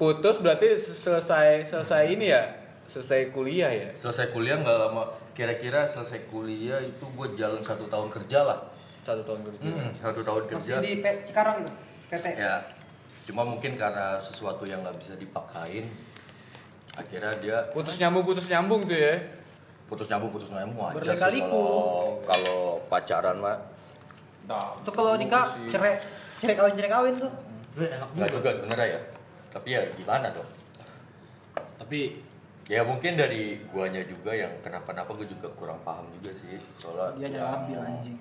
Speaker 3: Putus berarti selesai selesai ini ya, selesai kuliah ya.
Speaker 4: selesai kuliah nggak lama kira-kira selesai kuliah itu gua jalan satu tahun kerja lah
Speaker 3: Satu tahun kerja.
Speaker 4: Mm, satu tahun kerja
Speaker 8: Hmm. Masih di P- Cikarang itu. PT.
Speaker 4: ya cuma mungkin karena sesuatu yang nggak bisa dipakain akhirnya dia
Speaker 3: Putus nyambung, putus nyambung tuh ya.
Speaker 4: putus nyambung putus nyambung aja sih
Speaker 2: Berlekaliku.
Speaker 4: kalau kalau pacaran mah
Speaker 8: Itu kalau nikah cerai, cerai kawin cerai kawin tuh. Iya.
Speaker 4: nggak juga sebenarnya ya tapi ya gimana dong
Speaker 2: Tapi
Speaker 4: ya mungkin dari guanya juga yang kenapa-napa gue juga kurang paham juga sih soalnya
Speaker 8: Dia
Speaker 4: yang-
Speaker 8: nyalahin anjing.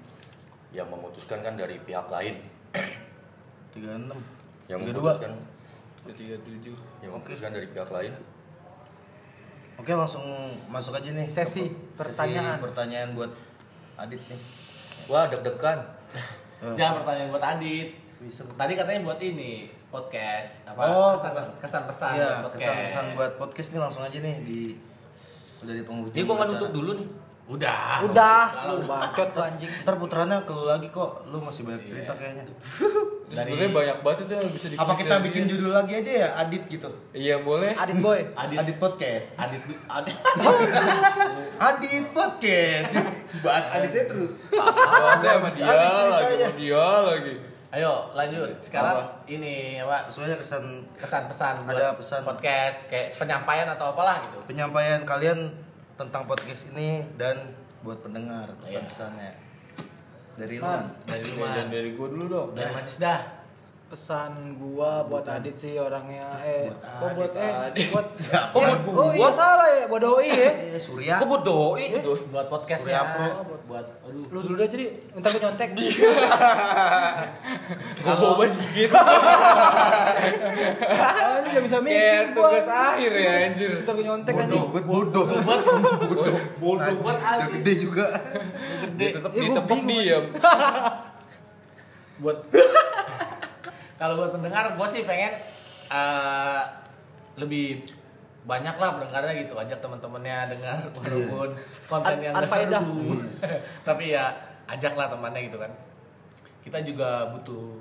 Speaker 8: Iya.
Speaker 4: yang memutuskan kan dari pihak lain
Speaker 1: 36.
Speaker 4: yang
Speaker 1: 32.
Speaker 4: memutuskan
Speaker 3: Tiga tujuh.
Speaker 4: yang memutuskan dari pihak lain
Speaker 1: Oke, langsung masuk aja nih.
Speaker 8: Sesi pertanyaan.
Speaker 1: Sesi pertanyaan buat Adit nih.
Speaker 4: wah deg-degan
Speaker 2: jangan pertanyaan buat Adit. Tadi katanya buat ini podcast apa
Speaker 1: Oh,
Speaker 2: kesan kesan pesan
Speaker 1: Iya, kesan-kesan buat podcast nih langsung aja nih di udah di penghujung.
Speaker 4: ini gue nggak
Speaker 1: acara.
Speaker 4: nutup dulu nih
Speaker 2: Udah.
Speaker 8: Udah, lu bacot lu anjing.
Speaker 1: Ntar putarannya ke lu lagi kok, lu masih banyak cerita kayaknya.
Speaker 2: Dari
Speaker 3: Sebenarnya banyak banget itu yang bisa dikulik
Speaker 1: Iya. Apa kita
Speaker 3: dari
Speaker 1: bikin
Speaker 4: iya.
Speaker 3: dia.
Speaker 1: judul lagi aja ya, Adit gitu?
Speaker 3: Iya, boleh.
Speaker 8: Adit boy.
Speaker 2: Adit
Speaker 1: Adit podcast.
Speaker 2: Adit Adit
Speaker 1: Adit podcast. Bahas Aditnya terus.
Speaker 3: Bahasnya sama dia
Speaker 1: Habis
Speaker 3: lagi,
Speaker 1: ceritanya.
Speaker 3: sama dia lagi.
Speaker 2: Ayo lanjut. Sekarang ini apa
Speaker 1: Sesuai kesan
Speaker 2: kesan pesan buat
Speaker 1: Ada pesan.
Speaker 2: podcast kayak penyampaian atau apalah gitu.
Speaker 1: penyampaian kalian tentang podcast ini dan buat pendengar
Speaker 4: Iya.
Speaker 1: pesan-pesannya. Dari lu.
Speaker 8: Man.
Speaker 2: Dari
Speaker 3: Oke,
Speaker 2: rumah.
Speaker 3: Dan dari gua dulu dong.
Speaker 2: Dari Majis dah.
Speaker 8: Pesan gua buat Adit sih orangnya eh kok buat eh buat
Speaker 5: Ya,
Speaker 1: Siapa
Speaker 8: kok buat gua? Oh iya salah ya, buat doi ya.
Speaker 1: Eh, Surya.
Speaker 4: Kebut doi
Speaker 2: Itu Iya, buat podcast
Speaker 1: Surya Pro.
Speaker 2: Buat, buat aduh.
Speaker 8: Lu dulu
Speaker 5: Eh,
Speaker 8: dah jadi entar gua nyontek.
Speaker 2: Kalau
Speaker 8: Ah, lu gak bisa
Speaker 3: Kayak
Speaker 8: mikir gua.
Speaker 3: tugas akhir ya anjir.
Speaker 8: Entar gua nyontek
Speaker 1: Bodoh,
Speaker 8: anjing.
Speaker 1: buat bodoh.
Speaker 2: bodoh
Speaker 1: Najis,
Speaker 2: buat
Speaker 1: udah
Speaker 2: Adit.
Speaker 1: gede juga.
Speaker 3: Dia tetap
Speaker 8: Iya, gua
Speaker 3: ditepok
Speaker 8: bingung.
Speaker 3: diam.
Speaker 2: Buat Kalau buat pendengar gua sih pengen eh, lebih banyak lah pendengarnya gitu ajak teman-temannya dengar walaupun konten
Speaker 8: Ad-
Speaker 2: yang
Speaker 8: ada
Speaker 2: gak seru.
Speaker 8: faedah.
Speaker 2: tapi ya ajaklah temannya gitu kan kita juga butuh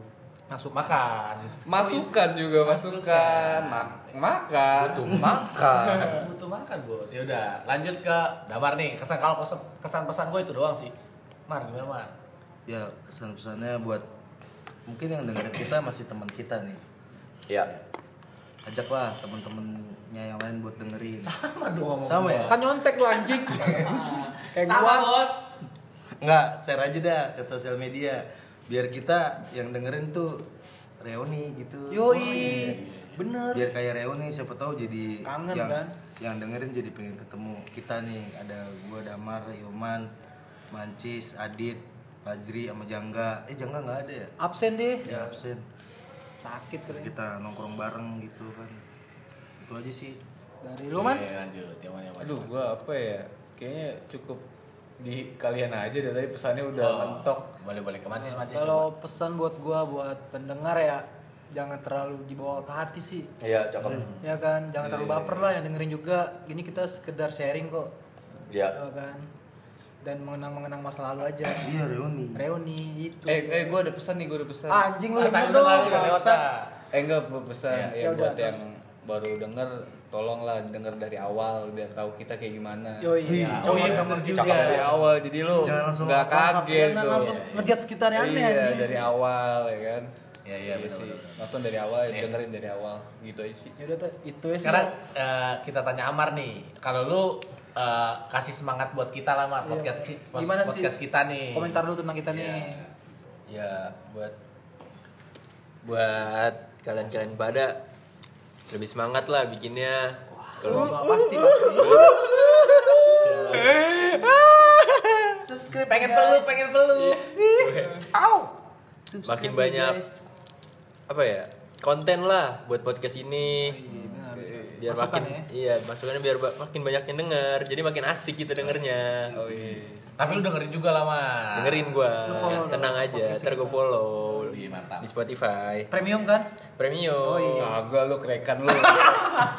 Speaker 2: masuk makan
Speaker 3: Masukan juga, masukan. Mak- makan.
Speaker 4: butuh makan
Speaker 2: butuh makan bos ya udah lanjut ke damar nih kesan kalau kesan, kesan pesan gue itu doang sih mar gimana mar
Speaker 1: Ya, kesan-pesannya buat mungkin yang dengerin kita masih teman kita nih.
Speaker 4: ya
Speaker 1: Ajaklah teman-temannya yang lain buat dengerin.
Speaker 2: sama dong ngomong
Speaker 1: Sama ya?
Speaker 8: Kan nyontek lu anjing. Kayak
Speaker 2: sama
Speaker 8: gua.
Speaker 2: bos
Speaker 1: Nggak, share aja dah ke sosial media biar kita yang dengerin tuh reuni gitu.
Speaker 8: Yoi. Bener.
Speaker 1: biar kayak reuni siapa tahu jadi
Speaker 8: Kangen,
Speaker 1: yang,
Speaker 8: kan?
Speaker 1: yang dengerin jadi pengen ketemu kita nih ada gua Damar Yoman Mancis Adit Fajri sama Jangga eh Jangga nggak ada ya
Speaker 8: Absen deh.
Speaker 1: dia absen
Speaker 8: Sakit
Speaker 1: Terus
Speaker 8: kali.
Speaker 1: kita nongkrong bareng gitu kan itu aja sih
Speaker 8: Dari lu man.
Speaker 2: Iya, Oke, lanjut yang mana yang mana
Speaker 3: Aduh, gua apa ya? Kayaknya cukup
Speaker 5: di kalian aja deh tadi pesannya udah
Speaker 8: Oh.
Speaker 5: mentok.
Speaker 2: Oh. Boleh boleh kemancis mancis.
Speaker 8: Kalau pesan buat gua buat pendengar ya jangan terlalu dibawa ke hati sih.
Speaker 4: Iya, cakep.
Speaker 8: Ya kan, jangan
Speaker 2: Iya,
Speaker 8: terlalu baper lah yang dengerin juga. Ini kita sekedar sharing kok.
Speaker 4: Iya.
Speaker 8: Ya kan. Dan mengenang-mengenang masa lalu aja.
Speaker 1: Iya reuni.
Speaker 8: Reuni itu.
Speaker 5: Eh, eh gue ada pesan nih, gue ada pesan.
Speaker 8: Anjing lu
Speaker 2: Ah,
Speaker 8: yang
Speaker 2: tadi
Speaker 8: dong.
Speaker 2: udah kali udah lewat
Speaker 8: bangsat.
Speaker 2: ah.
Speaker 5: Eh enggak bu- pesan
Speaker 8: Ya,
Speaker 5: ya,
Speaker 8: udah,
Speaker 5: buat yang
Speaker 8: terus.
Speaker 5: baru denger tolonglah denger dari awal biar tahu kita kayak gimana.
Speaker 8: Yo iya,
Speaker 2: Oh iya bener juga.
Speaker 5: Dari awal jadi lu
Speaker 1: Jangan langsung
Speaker 5: nggak
Speaker 1: tangkap,
Speaker 2: Iya,
Speaker 5: kaget
Speaker 8: jangan
Speaker 5: tuh.
Speaker 8: iya, langsung ngejudge kita nih aneh,
Speaker 5: Iya,
Speaker 8: anjing.
Speaker 5: dari awal ya kan.
Speaker 2: Iya, iya,
Speaker 5: Gitu
Speaker 2: bener,
Speaker 5: sih.
Speaker 2: bener, bener.
Speaker 5: Nonton dari awal, dengerin dari awal gitu aja sih.
Speaker 8: Ya udah tuh, itu ya sih.
Speaker 2: Sekarang eh, kita tanya Amar nih. Kalau lu eh, kasih semangat buat kita lah Amar, podcast,
Speaker 8: Iya. Gimana sih?
Speaker 2: podcast kita nih.
Speaker 8: komentar dulu tentang kita nih.
Speaker 2: Iya.
Speaker 7: ya buat buat kalian-kalian pada lebih semangat lah bikinnya
Speaker 8: Kalau
Speaker 7: kalau
Speaker 8: pasti pasti.
Speaker 1: Subscribe
Speaker 2: pengen peluk, pengen peluk.
Speaker 8: Iya.
Speaker 7: makin banyak apa ya konten lah buat podcast ini biar
Speaker 8: Masukan
Speaker 7: makin
Speaker 8: ya.
Speaker 7: iya masukannya biar ba- makin banyak yang denger jadi makin asik kita dengernya
Speaker 5: Oh iya.
Speaker 2: Tapi lu dengerin juga lah Amar.
Speaker 7: dengerin gua Ya,
Speaker 8: Lu follow
Speaker 7: tenang
Speaker 8: dong
Speaker 7: aja
Speaker 8: podcast
Speaker 7: ntar gua follow
Speaker 2: Iya, mantap.
Speaker 7: di Spotify
Speaker 8: Premium kan? iya.
Speaker 7: premium
Speaker 5: Oh iya. Kagak lu kerekan lu.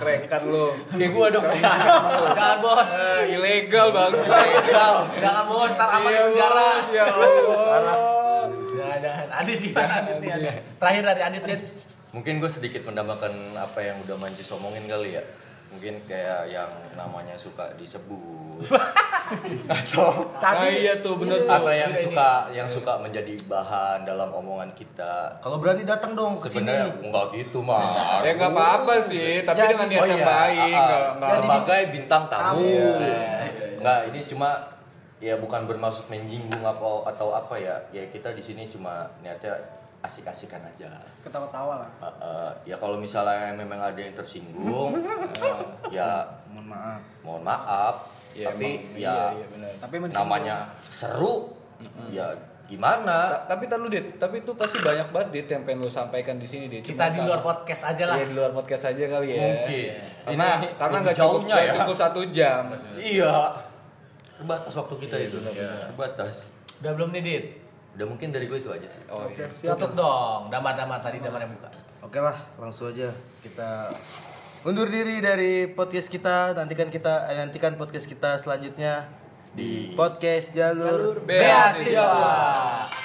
Speaker 5: kerekan lu.
Speaker 2: Kayak gua dong. Jangan bos.
Speaker 5: Eh, ilegal bang, ilegal.
Speaker 2: Jangan bos, ntar Amar di
Speaker 5: Iya,
Speaker 2: penjara.
Speaker 5: Bos, ya Allah.
Speaker 2: Jangan, jangan. Adit, gimana Adit nih? Adit? Terakhir dari Adit, Adit.
Speaker 4: Mungkin gue sedikit menambahkan apa yang udah Mancis omongin kali ya. Mungkin kayak yang namanya suka disebut atau
Speaker 5: Nah, iya tuh bener tuh.
Speaker 4: apa yang suka yang suka menjadi bahan dalam omongan kita.
Speaker 1: Kalau berani datang
Speaker 4: Oh,
Speaker 1: dong ke sini.
Speaker 4: Sebenarnya nggak gitu mah.
Speaker 5: Ya nggak apa-apa sih, tapi
Speaker 4: Oh
Speaker 8: Jadi-
Speaker 5: dengan Kan niat yang baik, nggak- nggak-
Speaker 4: iya, ah,
Speaker 5: Iya.
Speaker 4: sebagai bintang tamu. Nggak, ini cuma ya bukan bermaksud menjinggung atau atau apa ya. Ya kita di sini cuma niatnya asik-asikan aja.
Speaker 8: Ketawa-tawa lah.
Speaker 4: Eh, eh, ya kalau misalnya memang ada yang tersinggung, eh, ya
Speaker 1: Mohon maaf.
Speaker 4: mohon maaf.
Speaker 5: Ya,
Speaker 4: tapi
Speaker 5: emang,
Speaker 4: ya
Speaker 5: iya, iya, benar.
Speaker 8: Tapi emang disini-
Speaker 4: namanya seru, ya gimana?
Speaker 5: Ta- tapi tar lu dit, tapi itu pasti banyak banget dit yang pengen lu sampaikan di sini dit.
Speaker 2: Kita di luar podcast aja lah.
Speaker 5: Iya di luar podcast aja kali ya.
Speaker 4: Mungkin.
Speaker 5: Karena
Speaker 4: Ini
Speaker 5: karena nggak cukup
Speaker 4: jauhnya
Speaker 5: nggak
Speaker 4: ya.
Speaker 5: cukup satu jam.
Speaker 4: Iya. Terbatas waktu kita
Speaker 5: Iya,
Speaker 4: itu. Terbatas.
Speaker 2: Udah belum nih, Dit?
Speaker 4: Udah mungkin dari gue itu aja sih.
Speaker 5: Oh iya.
Speaker 2: Tutup dong. Damar-damar tadi damar yang buka.
Speaker 1: Oke lah, langsung aja kita undur diri dari podcast kita. Nantikan kita eh, nantikan podcast kita selanjutnya di podcast Jalur
Speaker 5: Beasiswa.
Speaker 2: Beasiswa.